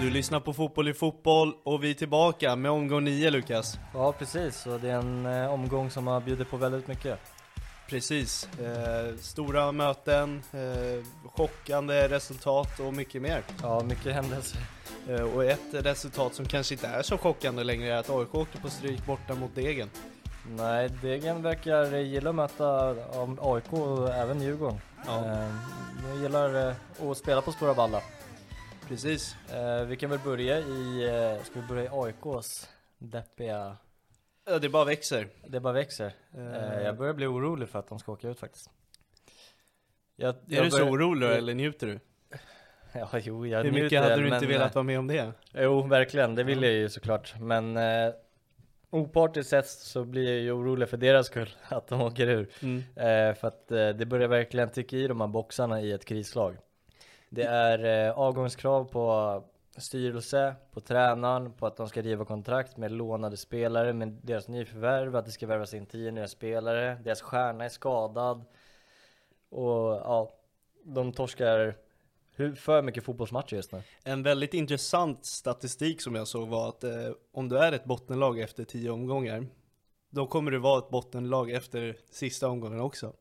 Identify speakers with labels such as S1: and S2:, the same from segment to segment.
S1: Du lyssnar på Fotboll i fotboll och vi är tillbaka med omgång 9 Lukas.
S2: Ja precis, och det är en eh, omgång som har bjudit på väldigt mycket.
S1: Precis. Eh, stora möten, eh, chockande resultat och mycket mer.
S2: Ja, mycket händelser.
S1: Eh, och ett resultat som kanske inte är så chockande längre är att AIK åkte på stryk borta mot Degen.
S2: Nej, Degen verkar gilla att möta ja, AIK och även Djurgården.
S1: Ja.
S2: Eh, De gillar eh, att spela på Stora Valla.
S1: Precis.
S2: Eh, Vi kan väl börja i, eh, ska vi börja i AIKs deppiga...
S1: Ja, det bara växer.
S2: Det bara växer. Eh,
S1: Eh,
S2: Jag börjar bli orolig för att de ska åka ut faktiskt. Jag,
S1: är du så orolig eller njuter du?
S2: Ja, jo, jag
S1: Hur mycket
S2: njuter,
S1: hade du inte
S2: men, eh,
S1: velat vara med om det?
S2: Jo, verkligen. Det vill jag ju såklart. Men eh, opartiskt sett så blir jag ju orolig för deras skull att de åker ur.
S1: Mm.
S2: Eh, för att eh, det börjar verkligen ticka i de här boxarna i ett krislag. Det är eh, avgångskrav på styrelse, på tränaren, på att de ska riva kontrakt med lånade spelare, med deras nyförvärv, att det ska värvas in tio nya spelare, deras stjärna är skadad. Och ja, de torskar hur, för mycket fotbollsmatcher just nu.
S1: En väldigt intressant statistik som jag såg var att eh, om du är ett bottenlag efter tio omgångar, då kommer du vara ett bottenlag efter sista omgången också.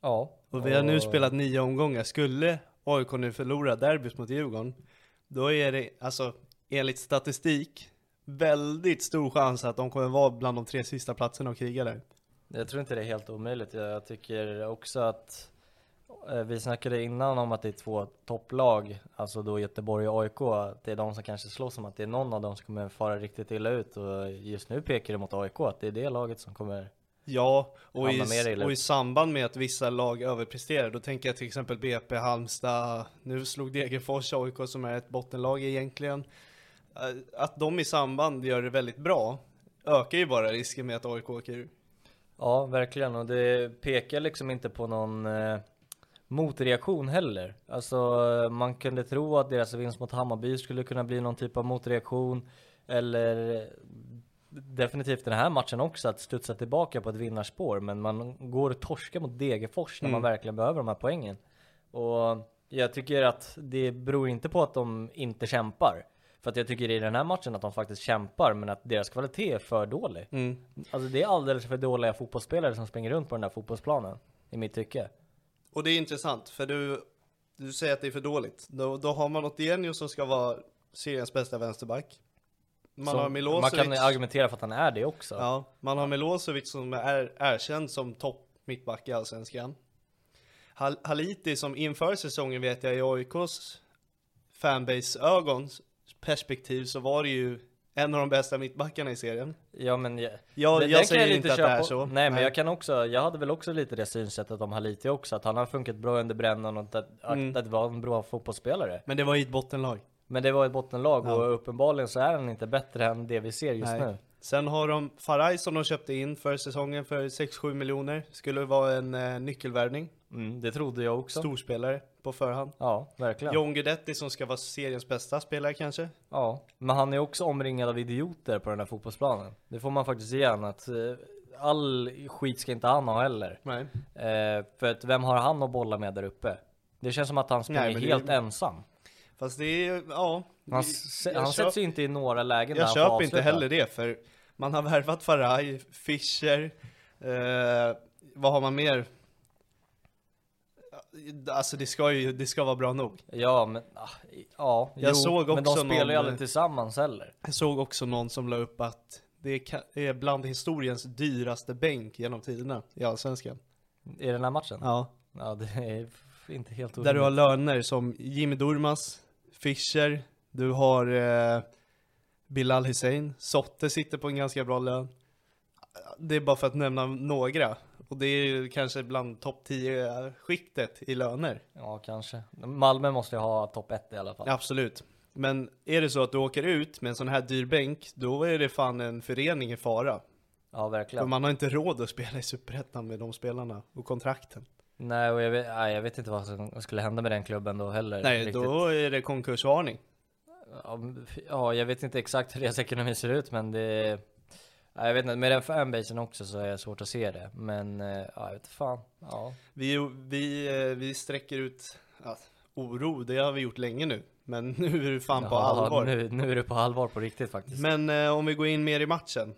S2: Ja.
S1: Och vi har nu spelat nio omgångar. Skulle AIK nu förlora derbyt mot Djurgården, då är det alltså enligt statistik väldigt stor chans att de kommer vara bland de tre sista platserna och kriga där.
S2: Jag tror inte det är helt omöjligt. Jag tycker också att eh, vi snackade innan om att det är två topplag, alltså då Göteborg och AIK. att Det är de som kanske slåss om att det är någon av dem som kommer fara riktigt illa ut och just nu pekar det mot AIK att det är det laget som kommer.
S1: Ja, och i,
S2: Hamnar mer illa
S1: och i
S2: ut.
S1: samband med att vissa lag överpresterar, då tänker jag till exempel BP, Halmstad, nu slog Degerfors AIK som är ett bottenlag egentligen. Eh, Att de i samband gör det väldigt bra ökar ju bara risken med att AIK åker ur.
S2: Ja, verkligen och det pekar liksom inte på någon eh, motreaktion heller. Alltså eh, man kunde tro att deras vinst mot Hammarby skulle kunna bli någon typ av motreaktion eller eh, definitivt den här matchen också att studsa tillbaka på ett vinnarspår men man går och torskar mot Degerfors när
S1: Mm.
S2: man verkligen behöver de här poängen. Och jag tycker att det beror inte på att de inte kämpar. För att jag tycker i den här matchen att de faktiskt kämpar men att deras kvalitet är för dålig.
S1: Mm.
S2: Alltså det är alldeles för dåliga fotbollsspelare som springer runt på den där fotbollsplanen. I mitt tycke.
S1: Och det är intressant, för du, du säger att det är för dåligt. Då, då har man Otienio som ska vara seriens bästa vänsterback. Man
S2: Så
S1: har
S2: man
S1: Milosevic.
S2: kan argumentera för att han är det också.
S1: ja, man har Milosevic som är erkänd som topp mittback i Allsvenskan. Hal Haliti som inför säsongen vet jag i AIKs fanbase ögons perspektiv så var det ju en av de bästa mittbackarna i serien.
S2: Ja men jag,
S1: Jag-
S2: det-
S1: jag
S2: där kan
S1: säger inte att det
S2: köpa.
S1: är så.
S2: Nej men
S1: Nej.
S2: jag kan också, jag hade väl också lite det synsättet om Haliti också, att han har funkat bra under brännan och att, att,
S1: Mm.
S2: att vara en bra fotbollsspelare.
S1: Men det var ju ett bottenlag.
S2: Men det var ett bottenlag och uppenbarligen så är han inte bättre än det vi ser just
S1: Nej.
S2: nu.
S1: Sen har de Faraj som de köpte in för säsongen för 6-7 miljoner. Skulle vara en eh, nyckelvärvning.
S2: Mm, det trodde jag också.
S1: Storspelare på förhand.
S2: Ja, verkligen.
S1: John Guidetti som ska vara seriens bästa spelare kanske.
S2: Ja, men han är också omringad av idioter på den här fotbollsplanen. Det får man faktiskt ge han att eh, all skit ska inte han ha heller.
S1: Nej.
S2: Eh, för att vem har han att bolla med där uppe? Det känns som att han springer
S1: Nej, men det-
S2: helt ensam.
S1: Fast det är, ja.
S2: Han,
S1: det-
S2: s-
S1: jag
S2: han
S1: köp-
S2: sätts ju inte i några lägen där
S1: Jag
S2: han
S1: köper
S2: får
S1: inte
S2: avsluta.
S1: heller det för man har värvat Faraj, Fischer, eh, vad har man mer? Alltså det ska ju, det ska vara bra nog.
S2: Ja, men ah, i- ja,
S1: Jag
S2: jo,
S1: såg
S2: men de
S1: också
S2: spelar ju
S1: någon-
S2: aldrig tillsammans heller.
S1: Jag såg också någon som la upp att det är ka- är bland historiens dyraste bänk genom tiderna i Allsvenskan.
S2: I den här matchen? Ja,
S1: Ja.
S2: det är f- inte helt
S1: Där du har
S2: orimligt.
S1: löner som Jimmy Durmaz, Fischer, du har eh, Bilal Hussein, Sotte sitter på en ganska bra lön. Det är bara för att nämna några. Och det är ju kanske bland topp 10-skiktet i löner.
S2: Ja, kanske. Malmö måste ju ha topp 1 i alla fall.
S1: Absolut. Men är det så att du åker ut med en sån här dyr bänk, då är det fan en förening i fara.
S2: ja
S1: För
S2: verkligen.
S1: man har inte råd att spela i Superettan med de spelarna och kontrakten.
S2: Nej, och jag vet, nej, jag vet inte vad som skulle hända med den klubben då heller.
S1: Nej,
S2: riktigt.
S1: då är det konkursvarning.
S2: Ja, men- Ja, jag vet inte exakt hur deras ekonomi ser ut, men det... Ja, jag vet inte, med den fanbasen också så är det svårt att se det. Men, eh, ja, jag vet fan. Ja.
S1: Vi, vi, eh, vi sträcker ut ja, oro, det har vi gjort länge nu. Men nu är det fan på
S2: Ja,
S1: allvar.
S2: Nu, nu är det på allvar på riktigt faktiskt.
S1: Men eh, om vi går in mer i matchen.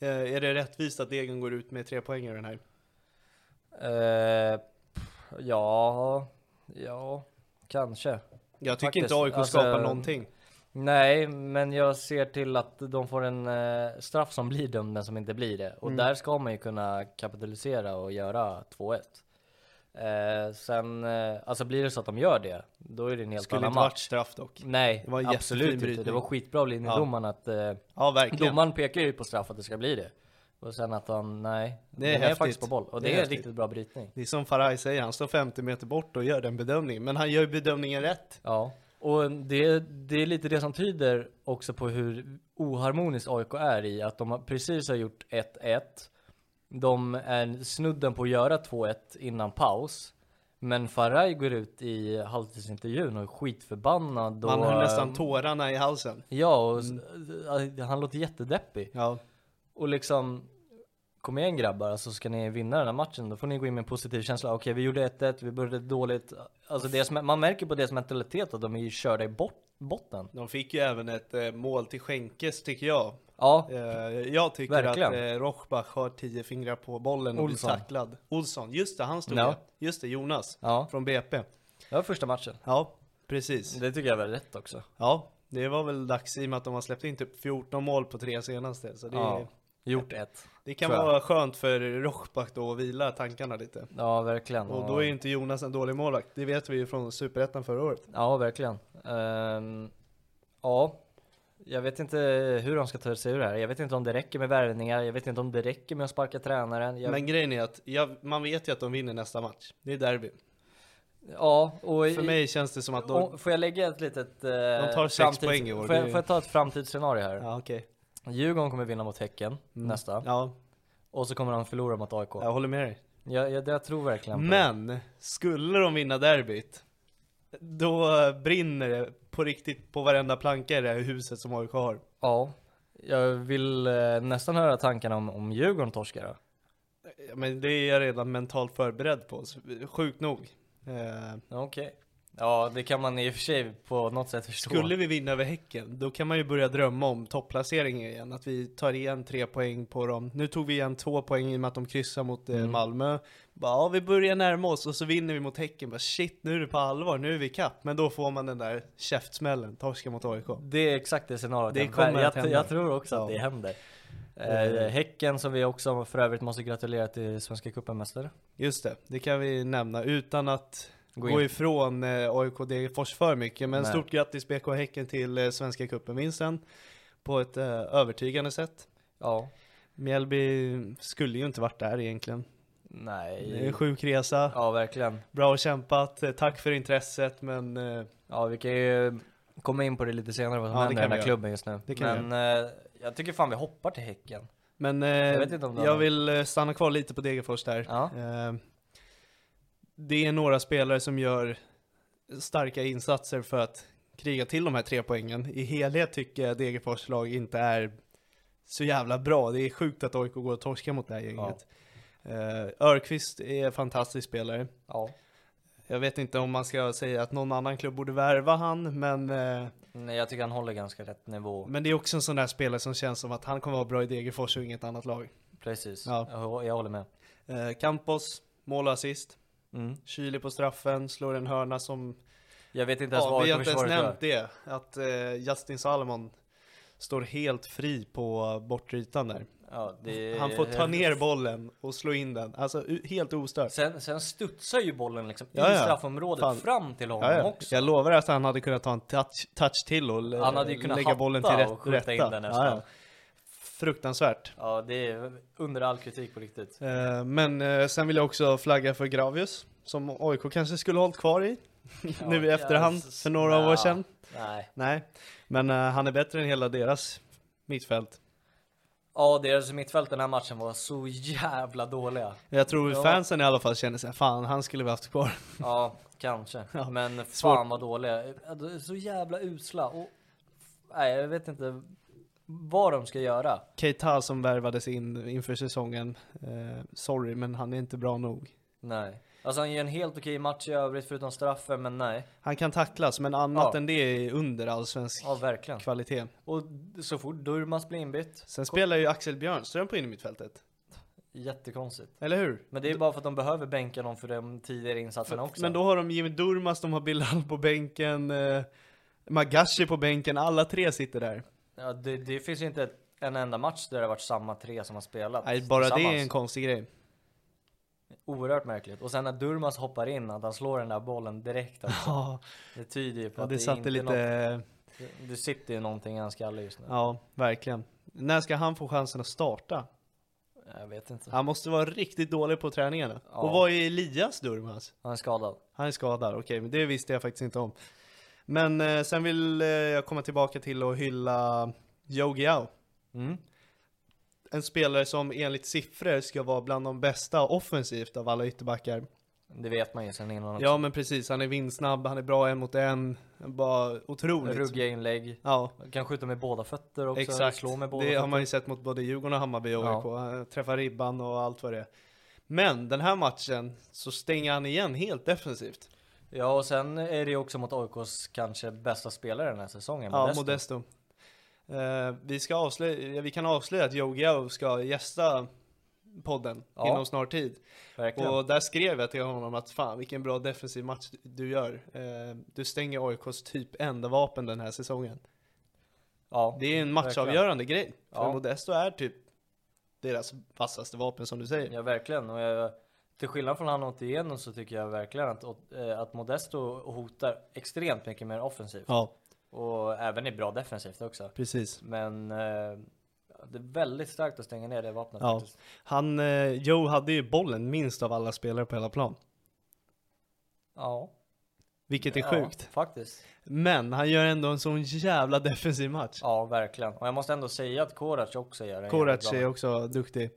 S1: Eh, är det rättvist att Degen går ut med tre poäng i den här?
S2: Eh, pff, ja, ja, kanske.
S1: Jag tycker
S2: Faktiskt,
S1: inte AIK
S2: alltså-
S1: skapar någonting.
S2: Nej, men jag ser till att de får en eh, straff som blir dömd, men som inte blir det.
S1: Mm.
S2: Och där ska man ju kunna kapitalisera och göra 2-1. Eh, sen, eh, alltså blir det så att de gör det, då är det en helt
S1: Skulle
S2: annan
S1: inte varit
S2: match.
S1: straff dock.
S2: Nej,
S1: Det var en
S2: absolut
S1: jättefin
S2: inte. Det
S1: brytning.
S2: var skitbra av linjedomaren att eh,
S1: Ja, verkligen.
S2: domaren pekar ju på straff att det ska bli det. Och sen att han, nej,
S1: Det är
S2: den
S1: häftigt.
S2: faktiskt på boll. Och
S1: Det
S2: det,
S1: är
S2: är en
S1: häftigt.
S2: riktigt bra brytning.
S1: Det är som Faraj säger, han står 50 meter bort och gör den bedömningen. Men han gör ju bedömningen rätt.
S2: Ja, och det, det är lite det som tyder också på hur oharmoniskt AIK är i att de har- precis har gjort 1-1. De är snudden på att göra 2-1 innan paus. Men Faraj går ut i halvtidsintervjun och är skitförbannad. Och, eh,
S1: Man har nästan tårarna i halsen.
S2: Ja, och, s- alltså, han låter jättedeppig.
S1: Ja,
S2: Och liksom, kom igen grabbar, alltså ska ni vinna den här matchen då får ni gå in med en positiv känsla. Okej, vi gjorde 1-1, vi började dåligt. Alltså det som, man märker på deras mentalitet att de är ju körda i bort, botten.
S1: de fick ju även ett eh, mål till skänkes tycker jag.
S2: Ja,
S1: Eh, jag tycker
S2: Verkligen.
S1: att eh, Rochbach har tio fingrar på bollen och
S2: Olsson.
S1: blir tacklad. Olsson, just det, han stod
S2: Ja.
S1: där. Just det, Jonas
S2: Ja.
S1: från BP.
S2: det var första matchen.
S1: Ja, precis.
S2: Det tycker jag var rätt också.
S1: Ja, det var väl dags i och med att de har släppt in typ 14 mål på tre senaste. Så det,
S2: Ja, gjort ett.
S1: det kan
S2: tror jag.
S1: vara skönt för Rochbach då att vila tankarna lite.
S2: Ja, verkligen.
S1: Och då är ju inte Jonas en dålig målvakt. Det vet vi ju från Superettan förra året.
S2: Ja, verkligen. Ehm, ja, jag vet inte hur de ska ta sig ur det här. Jag vet inte om det räcker med värvningar. Jag vet inte om det räcker med att sparka tränaren. Jag,
S1: Men grejen är att jag, man vet ju att de vinner nästa match. Det är derby.
S2: ja, och
S1: För
S2: i-
S1: mig känns det som att de...
S2: Om- Får jag lägga ett litet... Eh,
S1: tar sex poäng i år,
S2: Får jag,
S1: det är-
S2: får jag ta ett framtidsscenario här?
S1: Ja, okej.
S2: Djurgården kommer vinna mot Häcken nästa.
S1: Ja,
S2: Och så kommer de förlora mot AIK.
S1: jag håller med dig.
S2: Jag, jag, jag tror verkligen på det.
S1: Men skulle de vinna derbyt, då eh, brinner det på riktigt på varenda planka i det här huset som AIK har.
S2: Ja. Jag vill eh, nästan höra tankarna om, om Djurgården torskar då.
S1: Ja, Men det är jag redan mentalt förberedd på, så sjukt nog. Eh,
S2: Okej. Ja, det kan man i och för sig på något sätt förstå.
S1: skulle vi vinna över Häcken, då kan man ju börja drömma om topplaceringen igen. Att vi tar igen tre poäng på dem. Nu tog vi igen två poäng i och med att de kryssar mot eh, Malmö. Bara, ja, vi börjar närma oss och så vinner vi mot Häcken. Bara, shit, nu är det på allvar, nu är vi i kapp. Men då får man den där käftsmällen, torska mot AIK.
S2: Det är exakt det scenariot.
S1: Det
S2: jag-
S1: kommer
S2: jag,
S1: att hända.
S2: jag tror också att
S1: Ja.
S2: det händer. Eh, häcken som vi också för övrigt måste gratulera till Svenska cupen-mästare.
S1: Just det, det kan vi nämna utan att
S2: Gå
S1: gå,
S2: in.
S1: ifrån eh, AIK Degerfors för mycket. Men
S2: Nej.
S1: stort grattis BK Häcken till eh, Svenska cupen-vinsten. på ett eh, övertygande sätt.
S2: Ja.
S1: Mjällby skulle ju inte varit där egentligen. Det är
S2: Nej.
S1: en sjuk resa,
S2: Ja, verkligen.
S1: bra kämpat, eh, tack för intresset men eh,
S2: Ja, vi kan ju komma in på det lite senare vad som
S1: Ja, det
S2: händer i
S1: kan
S2: den
S1: vi
S2: här
S1: göra.
S2: klubben just nu.
S1: Det kan vi
S2: Men eh, jag tycker fan vi hoppar till Häcken.
S1: Men eh,
S2: Jag
S1: jag,
S2: vet inte om det har-
S1: vill eh, stanna kvar lite på Degerfors där.
S2: Ja.
S1: Eh, det är några spelare som gör starka insatser för att kriga till de här tre poängen. I helhet tycker jag Degerfors lag inte är så jävla bra. Det är sjukt att AIK går och torskar mot det här gänget. Eh, Örqvist är en fantastisk spelare.
S2: Ja.
S1: Jag vet inte om man ska säga att någon annan klubb borde värva han, men, eh,
S2: Nej, jag tycker han håller ganska rätt nivå.
S1: men det är också en sån där spelare som känns som att han kommer vara bra i Degerfors och inget annat lag.
S2: Precis.
S1: Ja.
S2: Jag, jag håller med.
S1: Eh, Campos, mål och assist.
S2: Mm.
S1: Chile på straffen, slår en hörna som...
S2: Jag vet inte ens
S1: Ja,
S2: vad
S1: vi har inte ens
S2: försvaret gör.
S1: nämnt det. Att eh, Justin Salomon står helt fri på bortre ytan där.
S2: Ja, det...
S1: Han får ta ner bollen och slå in den. Alltså u- helt ostört.
S2: Sen, sen studsar ju bollen liksom
S1: Ja,
S2: i
S1: ja.
S2: straffområdet
S1: Fan.
S2: fram till honom
S1: Ja, ja.
S2: också.
S1: Jag lovar att han hade kunnat ta en touch, touch till och l-
S2: Han hade ju kunnat
S1: lägga bollen till
S2: hatta
S1: rätt,
S2: och skjuta in
S1: rätta.
S2: den nästan.
S1: Fruktansvärt.
S2: Ja, det är under all kritik på riktigt.
S1: Eh, men eh, sen vill jag också flagga för Gravius, som AIK kanske skulle hållit kvar i. nu i
S2: Ja,
S1: efterhand,
S2: yes.
S1: för några år
S2: Nja,
S1: sedan.
S2: Nej.
S1: Nej, men eh, han är bättre än hela deras mittfält.
S2: Ja, deras mittfält den här matchen var så jävla dåliga.
S1: Jag tror
S2: Ja.
S1: fansen i alla fall känner sig, fan han skulle vi haft kvar.
S2: Ja, kanske. Men fan
S1: svårt.
S2: vad dåliga. Så jävla usla. Och, nej, jag vet inte vad de ska göra.
S1: Keita som värvades in inför säsongen, eh, sorry men han är inte bra nog.
S2: Nej. Alltså han gör en helt okej match i övrigt förutom straffen, men nej.
S1: Han kan tacklas men annat
S2: Ja.
S1: än det är under allsvensk
S2: Ja, verkligen.
S1: kvalitet.
S2: Och så fort Durmaz blir inbytt,
S1: Sen spelar ju Axel Björnström på innermittfältet,
S2: jättekonstigt.
S1: eller hur?
S2: Men det är bara för att de behöver bänka någon för de tidigare insatserna också.
S1: Men då har de Jimmy Durmaz, de har Bilal på bänken, eh, Magashi på bänken, alla tre sitter där.
S2: Ja, det, det finns ju inte ett, en enda match där det har varit samma tre som har spelat
S1: Nej, bara det är
S2: tillsammans.
S1: en konstig grej.
S2: Oerhört märkligt. Och sen när Durmaz hoppar in, att han slår den där bollen direkt. Alltså.
S1: Ja,
S2: Det tyder ju på att
S1: det
S2: det är
S1: satte
S2: inte
S1: lite...
S2: något, det sitter ju någonting i hans skalle just nu.
S1: Ja, verkligen. När ska han få chansen att starta?
S2: Jag vet inte.
S1: Han måste vara riktigt dålig på träningarna.
S2: Ja.
S1: Och vad är Elias Durmaz?
S2: Han är skadad.
S1: Han är skadad, okej, men det visste jag faktiskt inte om. Men eh, sen vill eh, jag komma tillbaka till att hylla Yogiao.
S2: Mm.
S1: En spelare som enligt siffror ska vara bland de bästa offensivt av alla ytterbackar.
S2: Det vet man ju sen innan också.
S1: Ja men precis, han är vindsnabb, han är bra en mot en. Bara otroligt.
S2: Ruggiga inlägg.
S1: Ja,
S2: Kan skjuta med båda fötter också.
S1: exakt.
S2: Slå med båda
S1: det har
S2: fötter.
S1: man ju sett mot både Djurgården och Hammarby och AIK. Han Träffar ribban och allt vad det är. Men den här matchen så stänger han igen helt defensivt.
S2: Ja, och sen är det ju också mot AIKs kanske bästa spelare den här säsongen.
S1: Ja,
S2: Modesto.
S1: Modesto. Eh, vi, ska avslöja, vi kan avslöja att Yogiao ska gästa podden
S2: Ja.
S1: inom snar tid.
S2: Verkligen.
S1: Och där skrev jag till honom att fan vilken bra defensiv match du gör. Eh, du stänger AIKs typ enda vapen den här säsongen.
S2: ja,
S1: Det är en
S2: verkligen.
S1: matchavgörande grej. För
S2: Ja.
S1: Modesto är typ deras vassaste vapen som du säger.
S2: Ja verkligen och jag, till skillnad från han åt igenom så tycker jag verkligen att, åt- eh, att Modesto hotar extremt mycket mer offensivt
S1: Ja,
S2: och även är bra defensivt också.
S1: precis.
S2: Men eh, det är väldigt starkt att stänga ner det vapnet
S1: Ja.
S2: faktiskt.
S1: Han, eh, Joe hade ju bollen minst av alla spelare på hela plan.
S2: Ja,
S1: Vilket är
S2: ja,
S1: sjukt.
S2: faktiskt.
S1: Men han gör ändå en sån jävla defensiv match.
S2: Ja, verkligen. Och jag måste ändå säga att Korac också gör det.
S1: Korac är också duktig.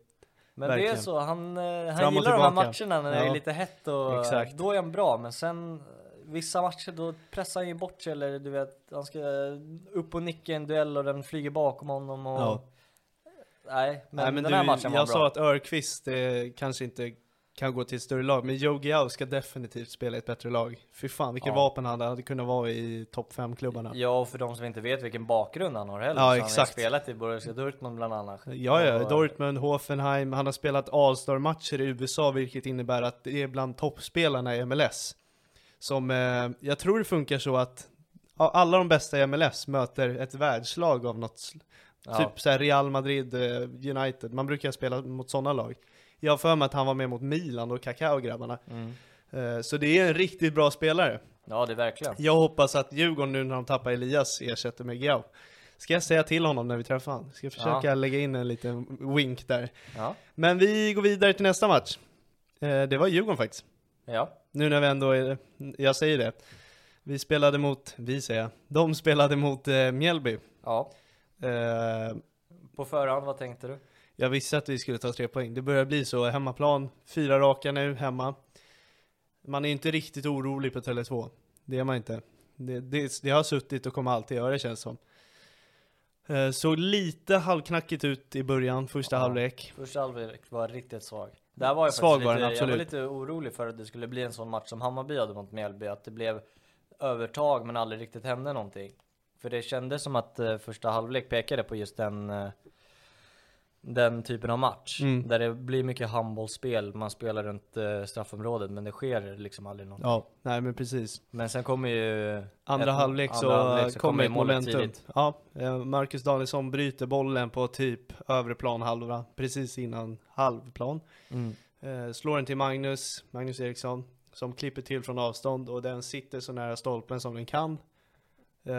S2: Men
S1: verkligen.
S2: det är så, han, eh,
S1: Fram
S2: han
S1: och
S2: gillar de här
S1: tillbaka.
S2: matcherna när det är
S1: Ja.
S2: lite hett och
S1: Exakt.
S2: då är han bra. Men sen eh, vissa matcher då pressar han ju bort sig eller du vet, han ska eh, upp och nicka i en duell och den flyger bakom honom och
S1: Ja.
S2: Nej, men,
S1: Nej, men
S2: den
S1: du,
S2: här matchen var
S1: jag sa
S2: bra.
S1: att Örqvist eh, kanske inte kan gå till ett större lag, men Yogiao ska definitivt spela i ett bättre lag. Fy fan vilken
S2: Ja.
S1: vapen han hade kunnat vara i topp 5-klubbarna. Ja,
S2: Ja, och för de som inte vet vilken bakgrund han har heller.
S1: Ja,
S2: så Han har
S1: exakt.
S2: ju spelat i Borussia Dortmund bland annat.
S1: ja,
S2: Och-
S1: Dortmund, Hoffenheim, han har spelat All-star-matcher i USA, vilket innebär att det är bland toppspelarna i MLS. Som, eh, jag tror det funkar så att ja, alla de bästa i MLS möter ett världslag av något sl-
S2: Ja.
S1: Typ så här Real Madrid, eh, United. Man brukar spela mot sådana lag. Jag har för mig att han var med mot Milan och Kaká och grabbarna. Eh, Så det är en riktigt bra spelare.
S2: Ja, det är verkligen.
S1: Jag hoppas att Djurgården nu när de tappar Elias ersätter med Giao. Ska jag säga till honom när vi träffar honom? Ska jag försöka
S2: Ja.
S1: lägga in en liten wink där.
S2: Ja,
S1: Men vi går vidare till nästa match. Eh, det var Djurgården faktiskt.
S2: ja.
S1: Nu när vi ändå är, jag säger det. Vi spelade mot, vi säger jag, de spelade mot eh, Mjällby.
S2: ja.
S1: Eh,
S2: På förhand, vad tänkte du?
S1: jag visste att vi skulle ta tre poäng. Det börjar bli så, hemmaplan, fyra raka nu hemma. Man är inte riktigt orolig på Tele2. Det är man inte. Det, det, det har suttit och kommer alltid göra det känns som. Eh, såg lite halvknackigt ut i början, första
S2: Ja.
S1: halvlek.
S2: Första halvlek var riktigt svag. Där var jag
S1: Svag
S2: faktiskt
S1: var
S2: lite,
S1: den,
S2: Jag var
S1: absolut.
S2: lite orolig för att det skulle bli en sån match som Hammarby hade mot Mjällby, att det blev övertag men aldrig riktigt hände någonting. För det kändes som att eh, första halvlek pekade på just den, eh, den typen av match.
S1: Mm.
S2: Där det blir mycket handbollsspel, man spelar runt eh, straffområdet men det sker liksom aldrig någonting.
S1: Ja, nej men precis.
S2: Men sen kommer ju...
S1: Andra
S2: ett-
S1: halvlek så,
S2: andra halvlek så
S1: kommer
S2: ju
S1: ett momentum.
S2: tidigt.
S1: Ja, eh, Marcus Danielsson bryter bollen på typ övre planhalva, precis innan halvplan.
S2: Mm.
S1: Eh, slår den till Magnus, Magnus Eriksson, som klipper till från avstånd och den sitter så nära stolpen som den kan. Eh,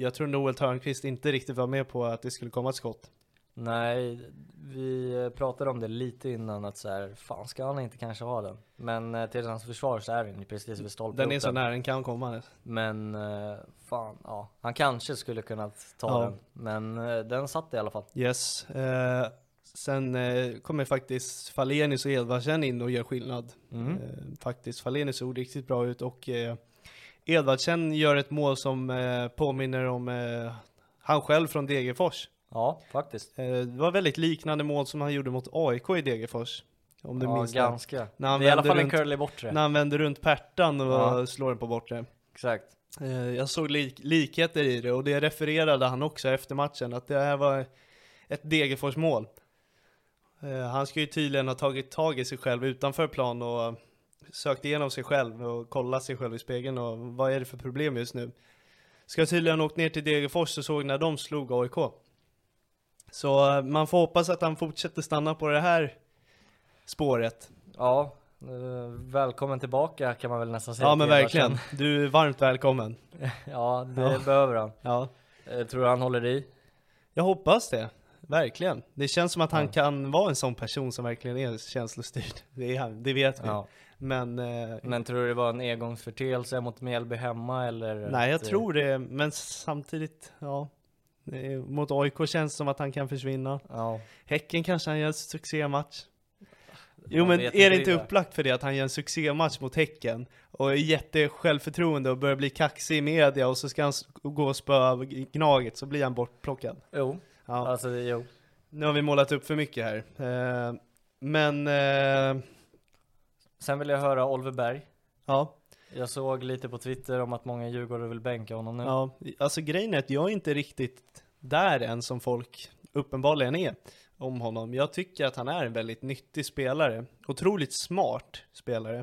S1: jag tror Noel Törnqvist inte riktigt var med på att det skulle komma ett skott.
S2: Nej, vi eh, pratade om det lite innan att så här, fan ska han inte kanske ha den? Men eh, till hans försvar så är den ju precis vid stolpen.
S1: Den är så nära den kan komma.
S2: Men eh, fan, ja. Han kanske skulle kunna ta
S1: Ja.
S2: den. Men eh, den satt i alla fall.
S1: Yes. Eh, sen eh, kommer faktiskt Falenius och Edvardsen in och gör skillnad.
S2: Mm.
S1: Eh, faktiskt. Falenius såg riktigt bra ut och eh, Edvardsen gör ett mål som eh, påminner om eh, han själv från Degerfors.
S2: Ja, faktiskt.
S1: Eh, det var väldigt liknande mål som han gjorde mot AIK i Degerfors. Om du
S2: ja,
S1: minns det.
S2: ganska.
S1: När han
S2: det är i alla
S1: vänder
S2: fall en
S1: runt-
S2: curly bortre.
S1: När han vänder runt pärtan och
S2: Ja.
S1: slår den på bortre.
S2: Exakt.
S1: Eh, jag såg lik- likheter i det och det refererade han också efter matchen att det här var ett Degerfors-mål. Eh, han ska ju tydligen ha tagit tag i sig själv utanför plan och eh, sökt igenom sig själv och kollat sig själv i spegeln och vad är det för problem just nu. Ska tydligen ha åkt ner till Degerfors och såg när de slog AIK. Så eh, man får hoppas att han fortsätter stanna på det här spåret.
S2: Ja, eh, välkommen tillbaka kan man väl nästan säga.
S1: Ja men
S2: till Edvardsen.
S1: verkligen, du är varmt välkommen.
S2: Ja, det
S1: Ja.
S2: behöver han.
S1: Ja.
S2: Eh, tror du han håller i?
S1: Jag hoppas det. Verkligen. Det känns som att han
S2: Ja.
S1: kan vara en sån person som verkligen är känslostyrd. Det är han, det vet vi.
S2: Ja.
S1: Men, eh,
S2: Men tror du det var en engångsförteelse mot Mjällby hemma eller?
S1: nej, jag
S2: att, eh,
S1: tror det. Men samtidigt, ja. Eh, Mot AIK känns det som att han kan försvinna.
S2: Ja.
S1: Häcken kanske han gör en succématch. Jo
S2: Man
S1: men
S2: vet
S1: är det
S2: inte
S1: inte
S2: det.
S1: upplagt för det att han gör en succématch mot Häcken och är jätte självförtroende och börjar bli kaxig i media och så ska han s- gå och spöa Gnaget så blir han bortplockad.
S2: Jo,
S1: Ja.
S2: alltså det- jo.
S1: Nu har vi målat upp för mycket här. Eh, men, eh,
S2: Sen vill jag höra Oliver Berg.
S1: ja,
S2: Jag såg lite på Twitter om att många djurgårdare vill bänka honom nu.
S1: ja. Alltså grejen är att jag är inte riktigt där än som folk uppenbarligen är om honom. Jag tycker att han är en väldigt nyttig spelare. Otroligt smart spelare.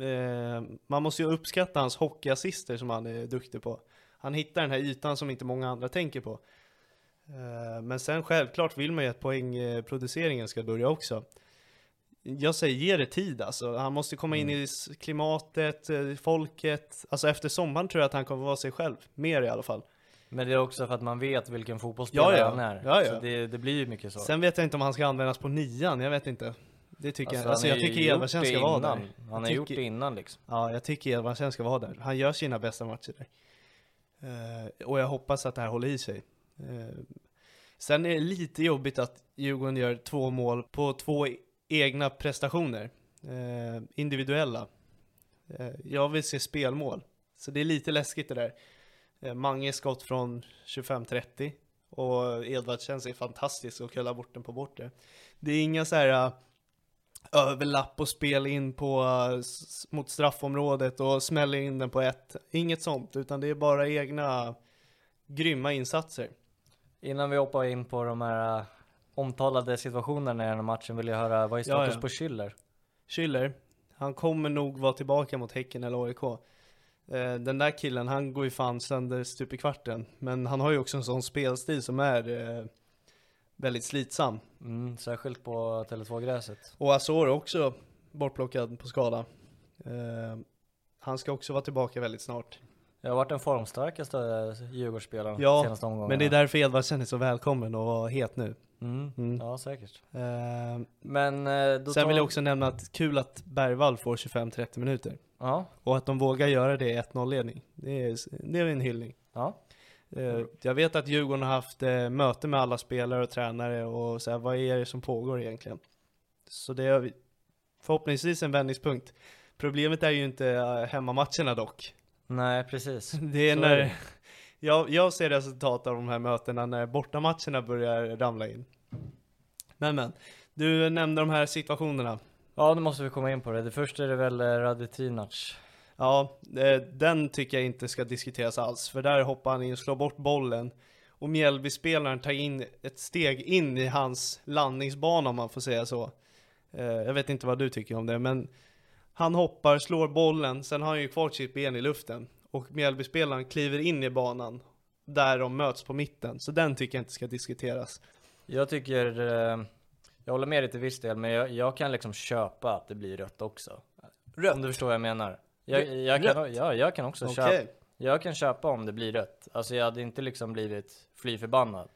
S1: Eh, man måste ju uppskatta hans hockeyassister som han är duktig på. Han hittar den här ytan som inte många andra tänker på. Eh, Men sen självklart vill man ju att poängproduceringen ska börja också. Jag säger ge det tid alltså. Han måste komma in
S2: Mm.
S1: i s- klimatet, eh, folket. Alltså efter sommaren tror jag att han kommer vara sig själv. Mer i alla fall.
S2: Men det är också för att man vet vilken fotbollsspelare
S1: Ja, ja.
S2: han är.
S1: Ja, ja.
S2: Så det, det blir ju mycket så.
S1: Sen vet jag inte om han ska användas på nian, jag vet inte. Det tycker
S2: han
S1: jag. Alltså
S2: har
S1: jag
S2: ju
S1: tycker
S2: gjort
S1: Edvardsen
S2: det
S1: ska vara
S2: innan.
S1: där.
S2: Han har
S1: Jag
S2: gjort
S1: tycker-
S2: det innan liksom.
S1: Ja, jag tycker Edvardsen ska vara där. Han gör sina bästa matcher där. Eh, och jag hoppas att det här håller i sig. Eh, sen är det lite jobbigt att Djurgården gör två mål på två e- egna prestationer. Eh, individuella. Eh, jag vill se spelmål. Så det är lite läskigt det där. Eh, Mange skott från 25-30 och Edvardsen ser fantastisk och kullar bort den på bortre. Det är inga så här eh, överlapp och spel in på, eh, s- mot straffområdet och smäller in den på ett. Inget sånt, utan det är bara egna grymma insatser.
S2: Innan vi hoppar in på de här äh, omtalade situationerna i den här matchen vill jag höra, vad är
S1: Ja, ja.
S2: status på Schiller?
S1: Schüller, han kommer nog vara tillbaka mot Häcken eller AIK. Eh, Den där killen, han går ju fan sönder stup i kvarten. Men han har ju också en sån spelstil som är eh, väldigt slitsam.
S2: Mm, särskilt på Tele2-gräset.
S1: Och Azor är också bortplockad på skada. Eh, han ska också vara tillbaka väldigt snart.
S2: Det har varit den formstarkaste Djurgårdsspelaren
S1: Ja,
S2: senaste omgången.
S1: men det är därför Edvardsen är så välkommen och var het nu.
S2: Mm.
S1: Mm.
S2: Ja, säkert.
S1: Eh,
S2: Men eh, då
S1: sen
S2: tar-
S1: vill jag också nämna att kul att Bergvall får 25-30 minuter.
S2: Ja,
S1: Och att de vågar göra det i 1-0-ledning. Det är, det är en hyllning.
S2: ja.
S1: Eh, Jag vet att Djurgården har haft eh, möte med alla spelare och tränare och så här, vad är det som pågår egentligen? Så det är förhoppningsvis en vändningspunkt. Problemet är ju inte eh, hemmamatcherna dock.
S2: Nej, precis.
S1: Det är
S2: Så är
S1: när,
S2: det.
S1: Jag, jag ser resultat av de här mötena när bortamatcherna börjar ramla in. Men men, du nämnde de här situationerna.
S2: Ja, nu måste vi komma in på det. Det första är det väl eh, Radetinac.
S1: Ja, eh, den tycker jag inte ska diskuteras alls, för där hoppar han in, slår bort bollen och Mjällby-spelaren tar in ett steg in i hans landningsbana om man får säga så. Eh, Jag vet inte vad du tycker om det, men han hoppar, slår bollen, sen har han ju kvar sitt ben i luften och Mjällby-spelaren kliver in i banan där de möts på mitten, så den tycker jag inte ska diskuteras.
S2: Jag tycker, eh, jag håller med dig till viss del, men jag, jag kan liksom köpa att det blir rött också. Rött? Om du förstår vad jag menar. Jag, jag, kan, ja, jag kan också
S1: Okej.
S2: köpa, jag kan köpa om det blir rött. Alltså jag hade inte liksom blivit fly förbannad.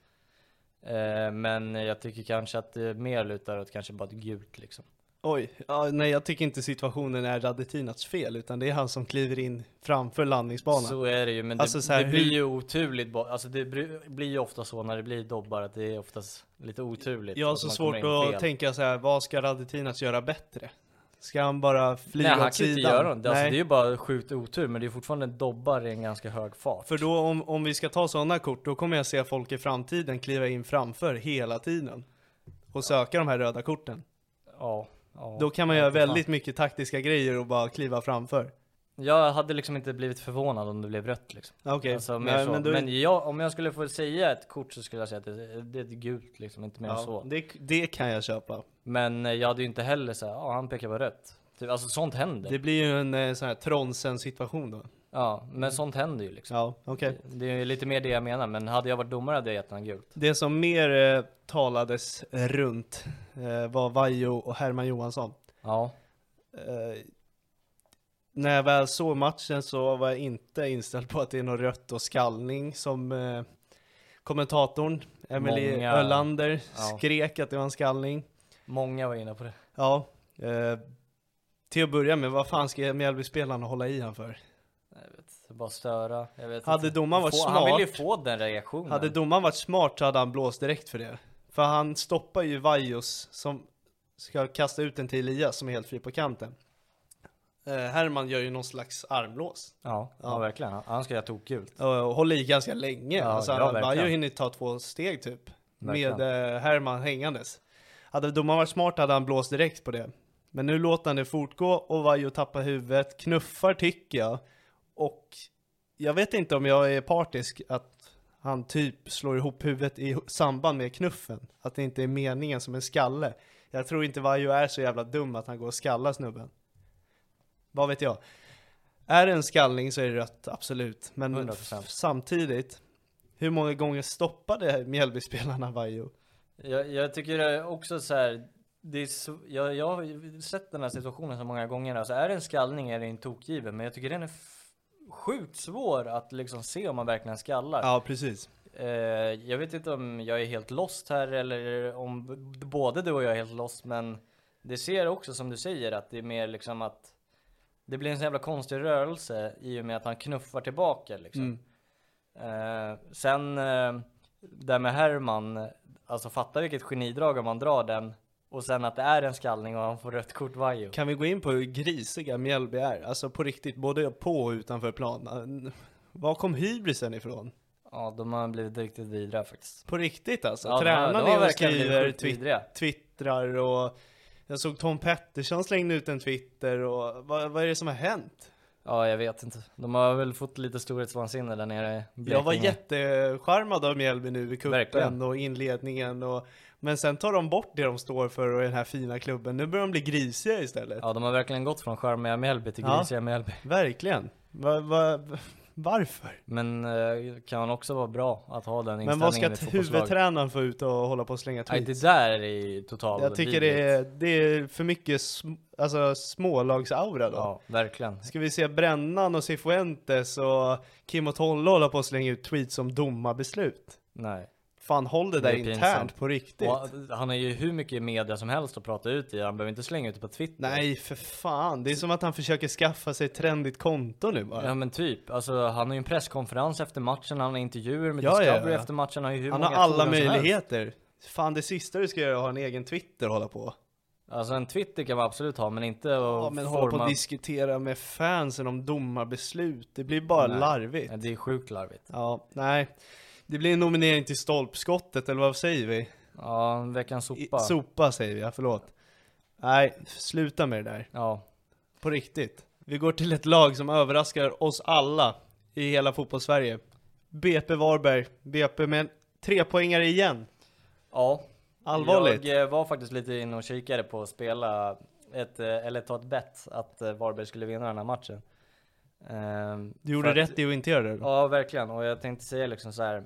S2: Eh, men jag tycker kanske att det mer lutar åt kanske bara ett gult liksom.
S1: Oj, ja, nej jag tycker inte situationen är Radetinats fel, utan det är han som kliver in framför landningsbanan.
S2: Så är det ju, men det,
S1: Alltså, så här,
S2: det blir
S1: hur-
S2: ju oturligt. bo- Alltså det bry- blir ju ofta så när det blir dobbar att det är oftast lite oturligt.
S1: Jag har
S2: Typ, att
S1: så
S2: man
S1: svårt
S2: kommer in
S1: att
S2: fel.
S1: tänka så här, vad ska Radetinac göra bättre? Ska han bara flyga
S2: Nej han
S1: åt
S2: kan ju
S1: sidan?
S2: inte göra något. Alltså,
S1: Nej,
S2: det är ju bara sjukt otur men det är fortfarande en dobbar i en ganska hög fart.
S1: för då om, om vi ska ta sådana kort, då kommer jag se folk i framtiden kliva in framför hela tiden och söka de här röda korten.
S2: Ja, ja,
S1: Då kan man
S2: jag
S1: göra
S2: vet inte
S1: väldigt mycket taktiska grejer och bara kliva framför.
S2: fan. Jag hade liksom inte blivit förvånad om det blev rött liksom.
S1: Okej,
S2: Alltså, mer
S1: nej,
S2: så.
S1: men
S2: Men,
S1: då-
S2: jag, om jag skulle få säga ett kort så skulle jag säga att det, det är ett gult liksom, inte mer än
S1: ja,
S2: så.
S1: det, det kan jag köpa.
S2: Men eh, jag hade ju inte heller såhär, ja han pekar på rött. Typ, alltså sånt händer.
S1: Det blir ju en eh, sån här Tronsen-situation då.
S2: Ja, men sånt händer ju liksom.
S1: Ja, okej.
S2: Det är ju lite mer det jag menar, men hade jag varit domare hade jag gett honom gult.
S1: Det som mer eh, talades runt eh, var Vajo och Herman Johansson.
S2: Ja.
S1: Eh, när jag väl såg matchen så var jag inte inställd på att det är något rött och skallning som eh, kommentatorn Emily
S2: Många-
S1: Ölander
S2: Ja.
S1: skrek att det var en skallning.
S2: Många var inne på det.
S1: Ja, eh, till att börja med, vad fan ska Mjällby-spelarna hålla i han för?
S2: Bara störa. Jag vet
S1: Hade
S2: inte.
S1: domaren varit
S2: få, Han ville ju
S1: smart-
S2: få den reaktionen.
S1: Hade domaren varit smart så hade han blåst direkt för det. För han stoppar ju Vaios som ska kasta ut den till Elias som är helt fri på kanten. Eh, Herman gör ju någon slags armlås.
S2: Ja, ja. verkligen. Han- Han ska göra tokgult.
S1: Och och håller i ganska länge.
S2: Ja,
S1: alltså,
S2: ja,
S1: han
S2: verkligen.
S1: hade ju hinner ta två steg typ.
S2: Verkligen.
S1: Med eh, Herman hängandes. Hade domaren varit smart hade han blåst direkt på det. Men nu låter han det fortgå och Vaiho tappar huvudet, knuffar tycker jag. Och jag vet inte om jag är partisk att han typ slår ihop huvudet i samband med knuffen. Att det inte är meningen som en skalle. Jag tror inte Vaiho är så jävla dum att han går och skallar snubben. Vad vet jag? Är det en skallning så är det rött, absolut. Men
S2: 100%.
S1: samtidigt, hur många gånger stoppade Mjällby-spelarna Vaiho?
S2: Jag, jag tycker det är också så här. Det är så, jag, jag har ju sett den här situationen så många gånger. Alltså är det en skallning är det en tokgiven. Men jag tycker den är f- sjukt svår att liksom se om man verkligen skallar.
S1: Ja, precis.
S2: Eh, jag vet inte om jag är helt lost här eller om b- både du och jag är helt lost. Men det ser också som du säger att det är mer liksom att det blir en så jävla konstig rörelse i och med att han knuffar tillbaka liksom.
S1: Mm.
S2: Eh, sen eh, där med Herman, alltså fatta vilket genidrag om man drar den och sen att det är en skallning och han får rött kort Vaiho.
S1: Kan vi gå in på hur grisiga Mjällby är? Alltså på riktigt, både på och utanför plan. Var kom hybrisen ifrån?
S2: Ja, de har blivit riktigt vidriga faktiskt.
S1: På riktigt alltså?
S2: Ja, de har-
S1: Tränar
S2: de har
S1: ni och
S2: verkligen blivit
S1: skriver,
S2: sjukt vidriga.
S1: twitt- twittrar och... Jag såg Tom Pettersson slängde ut en twitter och vad, vad är det som har hänt?
S2: Ja, jag vet inte. De har väl fått lite storhetsvansinne där nere i
S1: Jag var
S2: Blekinge.
S1: jättecharmad av Mjällby nu i cupen
S2: Verkligen.
S1: och inledningen och... Men sen tar de bort det de står för och den här fina klubben. Nu börjar de bli grisiga istället.
S2: Ja, de har verkligen gått från charmiga Mjällby till
S1: Ja.
S2: grisiga Mjällby.
S1: Verkligen. Va, va, Varför?
S2: Men eh, kan också vara bra att ha den
S1: Men
S2: inställningen
S1: vad
S2: i
S1: ska
S2: ett fotbollslag?
S1: huvudtränaren få ut och hålla på och slänga
S2: Nej,
S1: tweets?
S2: det där är totalt
S1: Jag tycker det är, det är för mycket sm- alltså, smålagsaura då.
S2: Ja, verkligen.
S1: Ska vi se Brännan och Cifuentes och Kim och Tolle hålla på och slänga ut tweets om domarbeslut?
S2: Nej.
S1: Fan håll det,
S2: Det
S1: där
S2: är
S1: internt
S2: pinsamt.
S1: på riktigt.
S2: Och han är ju hur mycket i media som helst att prata ut i, han behöver inte slänga ut det på Twitter.
S1: Nej för fan, det är som att han försöker skaffa sig ett trendigt konto nu bara.
S2: Ja men typ, alltså han har ju en presskonferens efter matchen, han har intervjuer med
S1: Ja, ja,
S2: Discovery
S1: ja.
S2: efter matchen, han har ju hur
S1: han har
S2: många
S1: alla
S2: forum som helst.
S1: möjligheter. Fan det sista du ska göra är att ha en egen Twitter och hålla på.
S2: Alltså en Twitter kan man absolut ha, men inte
S1: Ja
S2: att
S1: men hålla på
S2: forma...
S1: och diskutera med fansen om domarbeslut, det blir bara
S2: Nej.
S1: larvigt.
S2: Ja, det är sjukt larvigt.
S1: Ja, nej. Det blir en nominering till stolpskottet, eller vad säger vi?
S2: Ja, en veckans
S1: I,
S2: sopa.
S1: sopa säger vi, ja, förlåt. Nej, sluta med det där.
S2: Ja,
S1: På riktigt. Vi går till ett lag som överraskar oss alla i hela fotbollssverige. BP Varberg. BP med tre poängar igen.
S2: Ja.
S1: Allvarligt.
S2: Jag eh, var faktiskt lite inne och kikade på att spela ett, eh, eller ta ett bett att eh, Varberg skulle vinna den här matchen. Ehm,
S1: Du gjorde
S2: för att-
S1: rätt i att inte göra det. då.
S2: Ja, verkligen. Och jag tänkte säga liksom så här.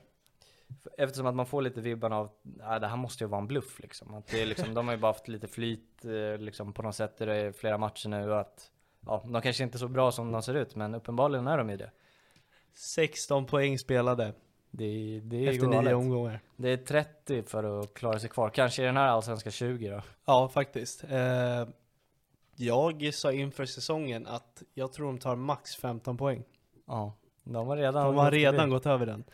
S2: för- Eftersom att man får lite vibban av, nej det här måste ju vara en bluff liksom. Att det är liksom de har ju bara haft lite flyt eh, liksom på något sätt i det- flera matcher nu. och Att, ja, de kanske inte är så bra som de ser ut, men uppenbarligen är de ju det.
S1: 16 poäng spelade
S2: Det, det är
S1: efter
S2: ju galet.
S1: nio omgångar.
S2: Det är 30 för att klara sig kvar. Kanske i den här allsvenska 20 då.
S1: Ja, faktiskt. Eh, jag sa inför säsongen att jag tror de tar max 15 poäng.
S2: Ja, de har redan,
S1: De har
S2: gått
S1: redan
S2: förbi.
S1: gått över den.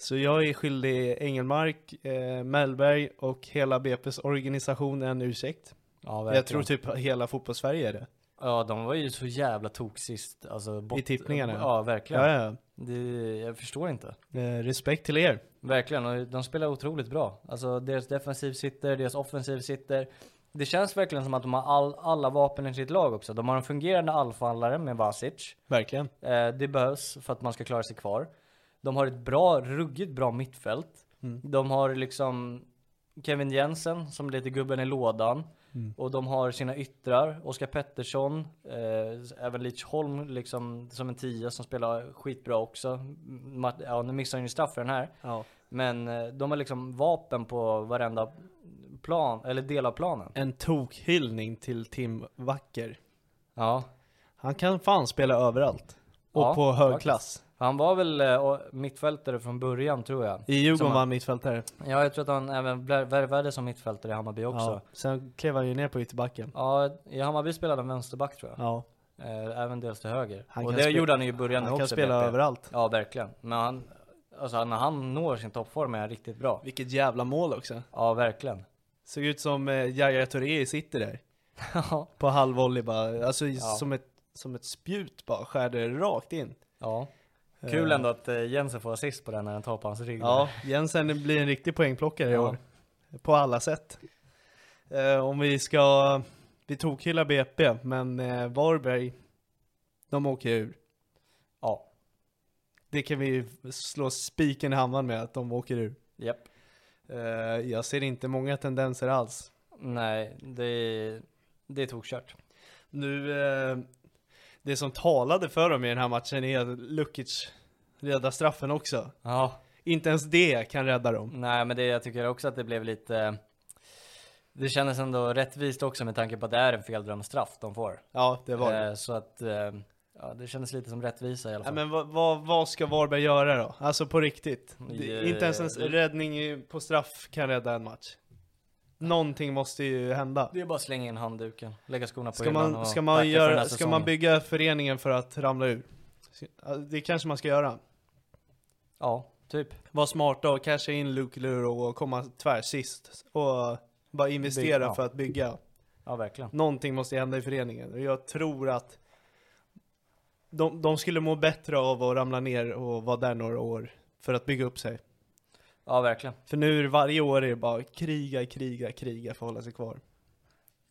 S1: Så jag är skyldig Engelmark, eh, Mellberg och hela BP's organisation en ursäkt.
S2: Ja,
S1: Jag
S2: verkligen.
S1: tror typ hela fotbollssverige är det.
S2: Ja, de var ju så jävla toksist. Alltså, bot-
S1: I tippningarna, ja.
S2: Ja, verkligen.
S1: Ja, ja.
S2: Det, jag förstår inte.
S1: Eh, respekt till er.
S2: Verkligen, och de spelar otroligt bra. Alltså deras defensiv sitter, deras offensiv sitter. Det känns verkligen som att de har all, alla vapen i sitt lag också. De har en fungerande anfallare med Vasic.
S1: Verkligen.
S2: Eh, det behövs för att man ska klara sig kvar. De har ett bra, ruggigt bra mittfält.
S1: Mm.
S2: De har liksom Kevin Jensen som är lite gubben i lådan.
S1: Mm.
S2: Och de har sina yttrar. Oskar Pettersson, eh, även Leach Holm liksom som en tia som spelar skitbra också. Mart- ja, nu missar han ju straff för den här.
S1: Ja.
S2: Men eh, de har liksom vapen på varenda plan, eller del av planen.
S1: En tokhyllning till Tim Wacker.
S2: Ja.
S1: Han kan fan spela överallt. Och
S2: Ja,
S1: på hög
S2: faktiskt.
S1: klass.
S2: Han var väl eh, och- mittfältare från början tror jag.
S1: I Djurgården
S2: Som-
S1: var han mittfältare.
S2: Ja, jag tror att han även blä- värvades som mittfältare i Hammarby också.
S1: Ja. Sen klev han ju ner på ytterbacken.
S2: Ja, i Hammarby spelade han vänsterback tror jag.
S1: Ja.
S2: Eh, även dels till höger.
S1: Han
S2: och
S1: kan
S2: det
S1: spe-
S2: gjorde han ju i början
S1: Han
S2: också.
S1: kan spela
S2: BP.
S1: överallt.
S2: Ja, verkligen. Men han, alltså, när han når sin toppform är han riktigt bra.
S1: Vilket jävla mål också.
S2: Ja, verkligen.
S1: Såg ut som eh, Yahya Touré sitter där.
S2: ja.
S1: På halvvolley bara, alltså som, ett, som ett spjut bara, skär det rakt in.
S2: ja. Kul ändå att eh, Jensen får assist på den när han tar på hans rygg.
S1: Ja, Jensen blir en riktig poängplockare i
S2: Ja.
S1: år. På alla sätt. Eh, om vi ska, vi tokhyllar BP, men eh, Varberg, de åker ur.
S2: Ja,
S1: Det kan vi slå spiken i hammaren med, att de åker ur.
S2: japp.
S1: Eh, jag ser inte många tendenser alls.
S2: Nej, det, det är tokkört.
S1: Nu, eh, det som talade för dem i den här matchen är att Lukic räddar straffen också.
S2: Ja,
S1: Inte ens det kan rädda dem.
S2: nej men det, jag tycker också att det blev lite... Det kändes ändå rättvist också med tanke på att det är en feldömd straff de får.
S1: Ja, det var det.
S2: Eh, Så att, eh, ja det kändes lite som rättvisa i alla
S1: Ja,
S2: fall.
S1: men vad, vad, vad ska Varberg göra då? Alltså på riktigt. Det,
S2: Eh,
S1: inte ens en s- räddning i- på straff kan rädda en match. Någonting måste ju hända.
S2: Det är bara att slänga in handduken, lägga skorna på
S1: Ska
S2: hyllan
S1: man,
S2: och
S1: ska
S2: tacka
S1: man,
S2: för den
S1: göra,
S2: här
S1: ska
S2: säsongen.
S1: man bygga föreningen för att ramla ur? Ja, Det kanske man ska göra.
S2: Ja, typ.
S1: Var smarta och casha in Luke Luro och komma tvärsist. Och bara investera
S2: Bygg- ja.
S1: för att bygga.
S2: Ja verkligen.
S1: Någonting måste hända i föreningen. Och jag tror att de, de skulle må bättre av att ramla ner och vara där några år. För att bygga upp sig.
S2: Ja verkligen.
S1: För nu är det varje år är det bara kriga, kriga, kriga för att hålla sig kvar.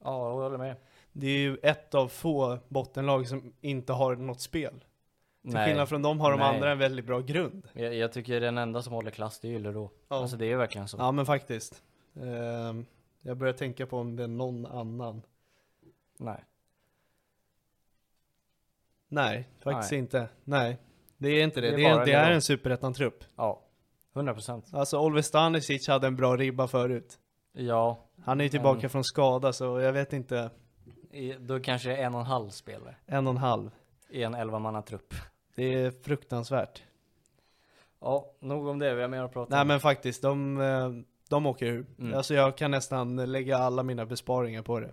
S2: Ja, jag håller med.
S1: Det är ju ett av få bottenlag som inte har något spel. Till skillnad från dem har de
S2: Nej.
S1: andra en väldigt bra grund.
S2: Jag, jag tycker den enda som håller klass det är Yllerå.
S1: Ja.
S2: Alltså det är verkligen så.
S1: Ja men faktiskt. Ehm, jag börjar tänka på om det är någon annan.
S2: Nej.
S1: Nej, faktiskt
S2: Nej.
S1: inte. Nej. Det är inte det.
S2: Det är
S1: Det är,
S2: bara
S1: det
S2: nivå.
S1: är en superettan-trupp.
S2: Ja, 100%.
S1: Alltså Oliver Stanisic hade en bra ribba förut.
S2: Ja,
S1: Han är ju tillbaka
S2: Mm.
S1: från skada så jag vet inte.
S2: i- då kanske en och en halv spelare
S1: En och en halv.
S2: i en elvamannatrupp.
S1: Det är fruktansvärt.
S2: Ja, nog om det. Vi har mer att prata
S1: Nej
S2: om.
S1: men faktiskt, de, eh, de åker ur.
S2: Mm.
S1: Alltså jag kan nästan lägga alla mina besparingar på det.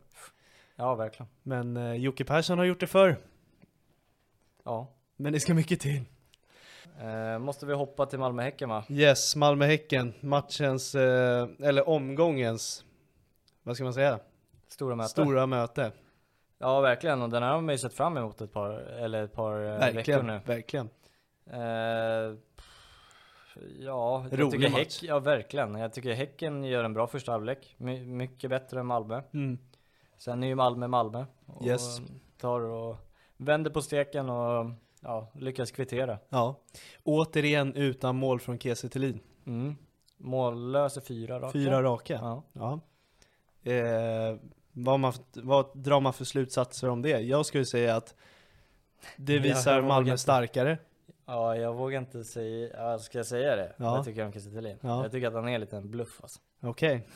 S2: Ja, verkligen.
S1: Men eh, Jocke Persson har gjort det förr.
S2: Ja.
S1: Men det ska mycket till.
S2: Eh, måste vi hoppa till Malmö-Häcken va?
S1: Yes, Malmö-Häcken. Matchens, eh, eller omgångens, vad ska man säga?
S2: Stora möten.
S1: Stora
S2: Eh,
S1: möte.
S2: Ja, verkligen. Och den här har man ju sett fram emot ett par, eller ett par eh, veckor
S1: Verkligen,
S2: nu.
S1: verkligen.
S2: Eh, ja, jag
S1: Rolig
S2: tycker
S1: match.
S2: Häck, ja, verkligen. Jag tycker Häcken gör en bra första halvlek. My, mycket bättre än Malmö.
S1: Mm.
S2: Sen är ju Malmö Malmö. Och
S1: Yes.
S2: tar och vänder på steken och ja, lyckas kvittera.
S1: Ja. Återigen utan mål från Kiese Thelin.
S2: Mm. Mållös i fyra raka.
S1: Fyra raka.
S2: Ja.
S1: Ja. Eh, vad, man, vad drar man för slutsatser om det? Jag skulle säga att det
S2: Jag
S1: visar
S2: vågar
S1: Malmö
S2: inte.
S1: starkare.
S2: ja, jag vågar inte säga, ja, ska jag säga det?
S1: Ja.
S2: Vad tycker jag om Kiese Thelin?
S1: Ja.
S2: Jag tycker att han är lite en bluff alltså.
S1: Okej.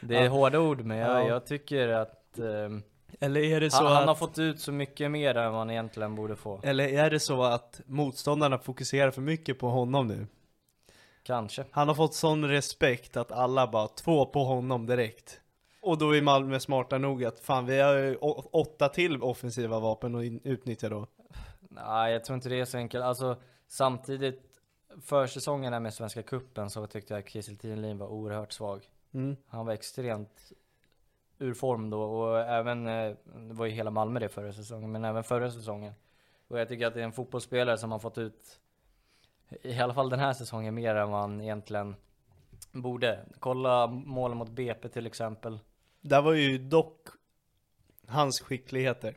S2: Det är
S1: Ja.
S2: hårda ord men jag,
S1: Ja.
S2: jag tycker att ehm,
S1: Eller är det så
S2: han,
S1: att...
S2: han har fått ut så mycket mer än vad han egentligen borde få.
S1: Eller är det så att motståndarna fokuserar för mycket på honom nu?
S2: Kanske.
S1: Han har fått sån respekt att alla bara två på honom direkt. Och då är Malmö smarta nog att fan vi har ju å- åtta till offensiva vapen att in- utnyttja då.
S2: Nej, jag tror inte det är så enkelt. Alltså, samtidigt, försäsongen här med Svenska Kuppen så tyckte jag att Kiese Thelin var oerhört svag.
S1: Mm.
S2: Han var extremt ur form då och även, eh, det var ju hela Malmö det förra säsongen, men även förra säsongen. Och jag tycker att det är en fotbollsspelare som har fått ut, i alla fall den här säsongen, mer än vad han egentligen borde. Kolla målen mot BP till exempel.
S1: Där var ju dock hans skickligheter.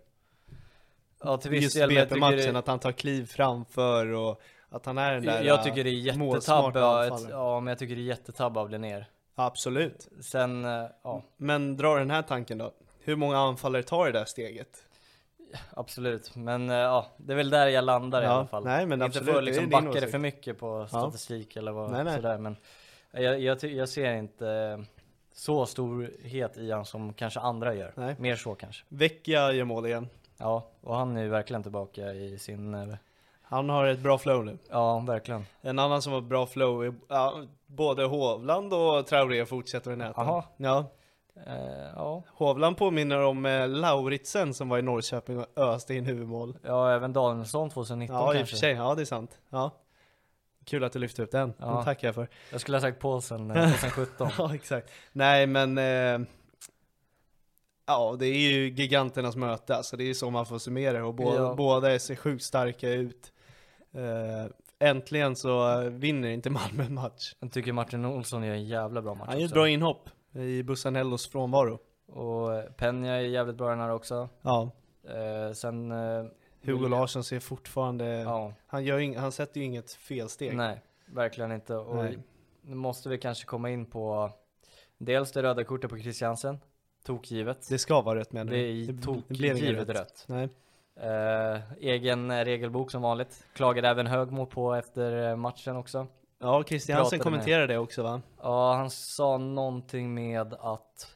S2: Ja, till viss
S1: Just
S2: del. men jag tycker det-
S1: BP-matchen, att han tar kliv framför och att han är den där
S2: Jag tycker det är
S1: äh,
S2: jättetabb,
S1: målsmarta
S2: ja, ett-
S1: anfallaren.
S2: ja men jag tycker det är jättetabb av Linnér.
S1: Absolut.
S2: Sen, eh, ja
S1: Men dra den här tanken då. Hur många anfallare tar det där steget?
S2: absolut. Men eh, ja, det är väl där jag landar i
S1: Ja,
S2: alla fall.
S1: nej, men
S2: Inte
S1: absolut,
S2: för
S1: det
S2: att
S1: är
S2: liksom
S1: din
S2: backa det
S1: åsikt.
S2: för mycket på statistik eller vad
S1: Nej, nej.
S2: sådär. Men jag, jag, ty- jag ser inte eh, så storhet i han som kanske andra gör.
S1: Nej.
S2: Mer så kanske.
S1: Vecchia gör mål igen.
S2: Ja, och han är ju verkligen tillbaka i sin, eh,
S1: Han har ett bra flow nu.
S2: ja verkligen.
S1: En annan som har bra flow är ja, både Hovland och Traoré fortsätter i näten.
S2: Jaha.
S1: Ja.
S2: Eh, ja.
S1: Hovland påminner om eh, Lauritsen som var i Norrköping och öste in huvudmål.
S2: ja, även Danielsson 2019
S1: Ja, i och
S2: kanske.
S1: för sig. Ja, det är sant. Ja. Kul att du lyfte upp den.
S2: Ja.
S1: Den tackar jag för.
S2: Jag skulle ha sagt Paulsen eh, 2017.
S1: Ja, exakt. Nej, men... Eh, ja, det är ju giganternas möte. Alltså, det är så man får summera det. Och bå-
S2: Ja.
S1: båda ser sjukt starka ut. Eh, äntligen så eh, vinner inte Malmö en match.
S2: Jag tycker Martin Olsson gör en jävla bra match
S1: Han gör ett
S2: också.
S1: bra inhopp i Bussanellos frånvaro.
S2: Och eh, Peña är jävligt bra i den här också.
S1: Ja.
S2: Eh, sen... Eh,
S1: Hugo Larsson ser fortfarande...
S2: Ja,
S1: Han, gör ing- han sätter ju inget felsteg.
S2: nej, verkligen inte. Och
S1: Nej.
S2: nu måste vi kanske komma in på dels det röda kortet på Christiansen, tokgivet.
S1: Det ska vara rött menar
S2: Det
S1: du?
S2: är
S1: b- blev inget
S2: tokgivet rött.
S1: Nej.
S2: Eh, egen eh, regelbok som vanligt. Klagade även Högmo på efter eh, matchen också.
S1: Ja, Christiansen
S2: Pratade
S1: kommenterade det också va?
S2: Ja, han sa någonting med att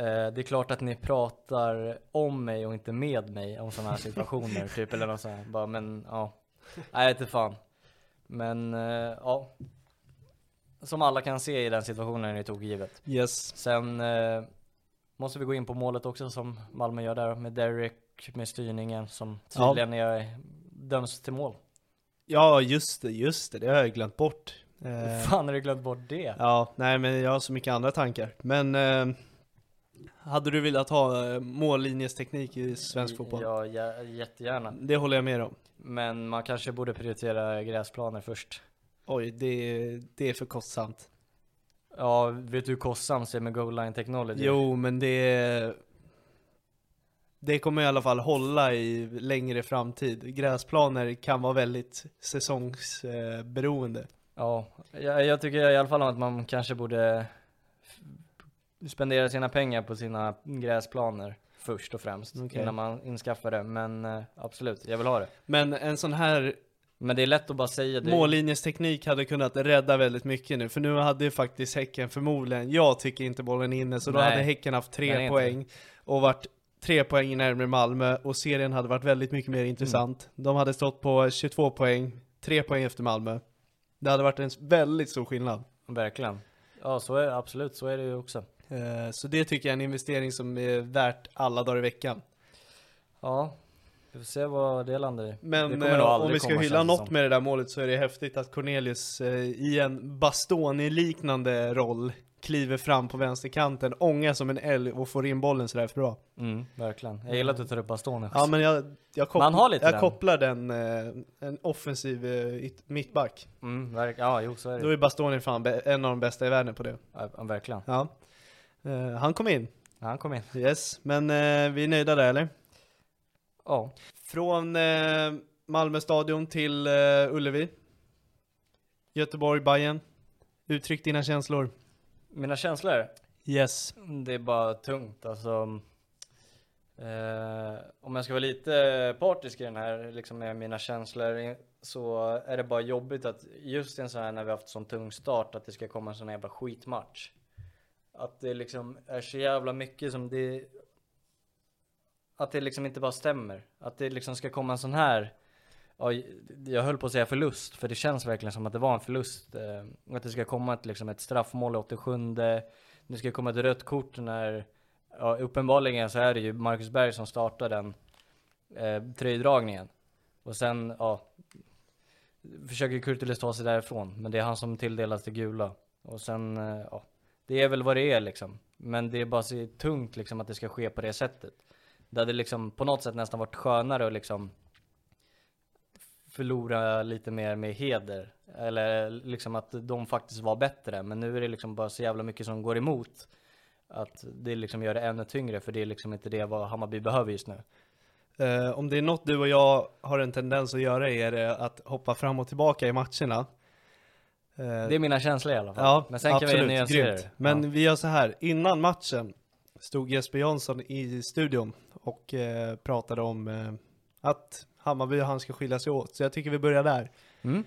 S2: Eh, det är klart att ni pratar om mig och inte med mig om sådana här situationer. typ, eller något sånt. här. Bara, men ja. Nej, jag vet inte fan. Men eh, ja. Som alla kan se i den situationen är det tokgivet.
S1: Yes.
S2: Sen eh, måste vi gå in på målet också som Malmö gör där med Derek med styrningen som
S1: Ja.
S2: tydligen är, döms till mål.
S1: Ja, just det, just det, det har jag glömt bort. Eh,
S2: Fan har du glömt bort det?
S1: Ja, nej men jag har så mycket andra tankar. Men eh, hade du velat ha eh, mållinjesteknik i svensk fotboll?
S2: Ja, ja, jättegärna.
S1: Det håller jag med om.
S2: Men man kanske borde prioritera gräsplaner först.
S1: Oj, det, är- det är för kostsamt.
S2: Ja, vet du hur kostsamt det är med goal line technology?
S1: Jo, men det är- det kommer i alla fall hålla i längre framtid. Gräsplaner kan vara väldigt säsongsberoende.
S2: Ja, jag, jag tycker i alla fall att man kanske borde f- spendera sina pengar på sina gräsplaner först och främst
S1: Okej.
S2: innan man inskaffar det. Men eh, absolut, jag vill ha det.
S1: Men en sån här
S2: Men det är lätt att bara säga det.
S1: Mållinjesteknik hade kunnat rädda väldigt mycket nu, för nu hade ju faktiskt Häcken förmodligen, jag tycker inte bollen är inne, så då
S2: Nej.
S1: hade Häcken haft tre
S2: Nej, inte.
S1: poäng och varit tre poäng närmare Malmö och serien hade varit väldigt mycket mer intressant.
S2: Mm.
S1: De hade stått på 22 poäng, tre poäng efter Malmö. Det hade varit en väldigt stor skillnad.
S2: Verkligen. Ja, så är det absolut. Så är det ju också.
S1: Eh, Så det tycker jag är en investering som är värt alla dagar i veckan.
S2: Ja, vi får se vad det landar i. det
S1: Men
S2: kommer
S1: eh,
S2: nog
S1: om
S2: aldrig
S1: vi ska
S2: komma,
S1: hylla
S2: känns det
S1: något
S2: som.
S1: med det där målet så är det häftigt att Cornelius eh, i en Bastoni-liknande roll kliver fram på vänsterkanten, ångar som en älg och får in bollen sådär för bra.
S2: Mm, verkligen. Jag gillar att du tar upp bastonen.
S1: Ja men jag, jag, koppl-
S2: Man har lite
S1: jag
S2: den.
S1: kopplar den, eh, en offensiv eh, yt- mittback.
S2: Mm, verk- ja, jo så är
S1: Då
S2: det.
S1: är Bastoni fan be- en av de bästa i världen på det.
S2: Ja, verkligen.
S1: Ja. Eh, han kom in,
S2: Ja, Han kom in.
S1: yes. Men eh, vi är nöjda där eller?
S2: Ja.
S1: Från eh, Malmö stadion till eh, Ullevi. Göteborg, Bayern. Uttryck dina känslor.
S2: Mina känslor?
S1: Yes.
S2: Det är bara tungt alltså. Eh, om jag ska vara lite partisk i den här, liksom med mina känslor, så är det bara jobbigt att just i en sån här när vi har haft sån tung start, att det ska komma en sån här jävla skitmatch. Att det liksom är så jävla mycket som det... Att det liksom inte bara stämmer. Att det liksom ska komma en sån här... Ja, jag höll på att säga förlust, för det känns verkligen som att det var en förlust. Eh, att det ska komma ett, liksom ett straffmål i 87. Det ska komma ett rött kort när... Ja, uppenbarligen så är det ju Marcus Berg som startar den eh, tröjdragningen. Och sen, ja... Försöker Kurtulus ta sig därifrån, men det är han som tilldelas det gula. Och sen, eh, ja... Det är väl vad det är liksom. Men det är bara så tungt liksom att det ska ske på det sättet. Det hade liksom på något sätt nästan varit skönare att liksom förlora lite mer med heder. Eller liksom att de faktiskt var bättre. Men nu är det liksom bara så jävla mycket som går emot. Att det liksom gör det ännu tyngre för det är liksom inte det vad Hammarby behöver just nu.
S1: Eh, om det är något du och jag har en tendens att göra är det att hoppa fram och tillbaka i matcherna. Eh,
S2: Det är mina känslor i alla fall.
S1: ja,
S2: Men sen
S1: absolut,
S2: kan vi nyansera
S1: grymt.
S2: det.
S1: Men
S2: ja.
S1: vi gör så här, innan matchen stod Jesper Jansson i studion och eh, pratade om eh, att Hammarby och han ska skilja sig åt. Så jag tycker vi börjar där.
S2: Mm.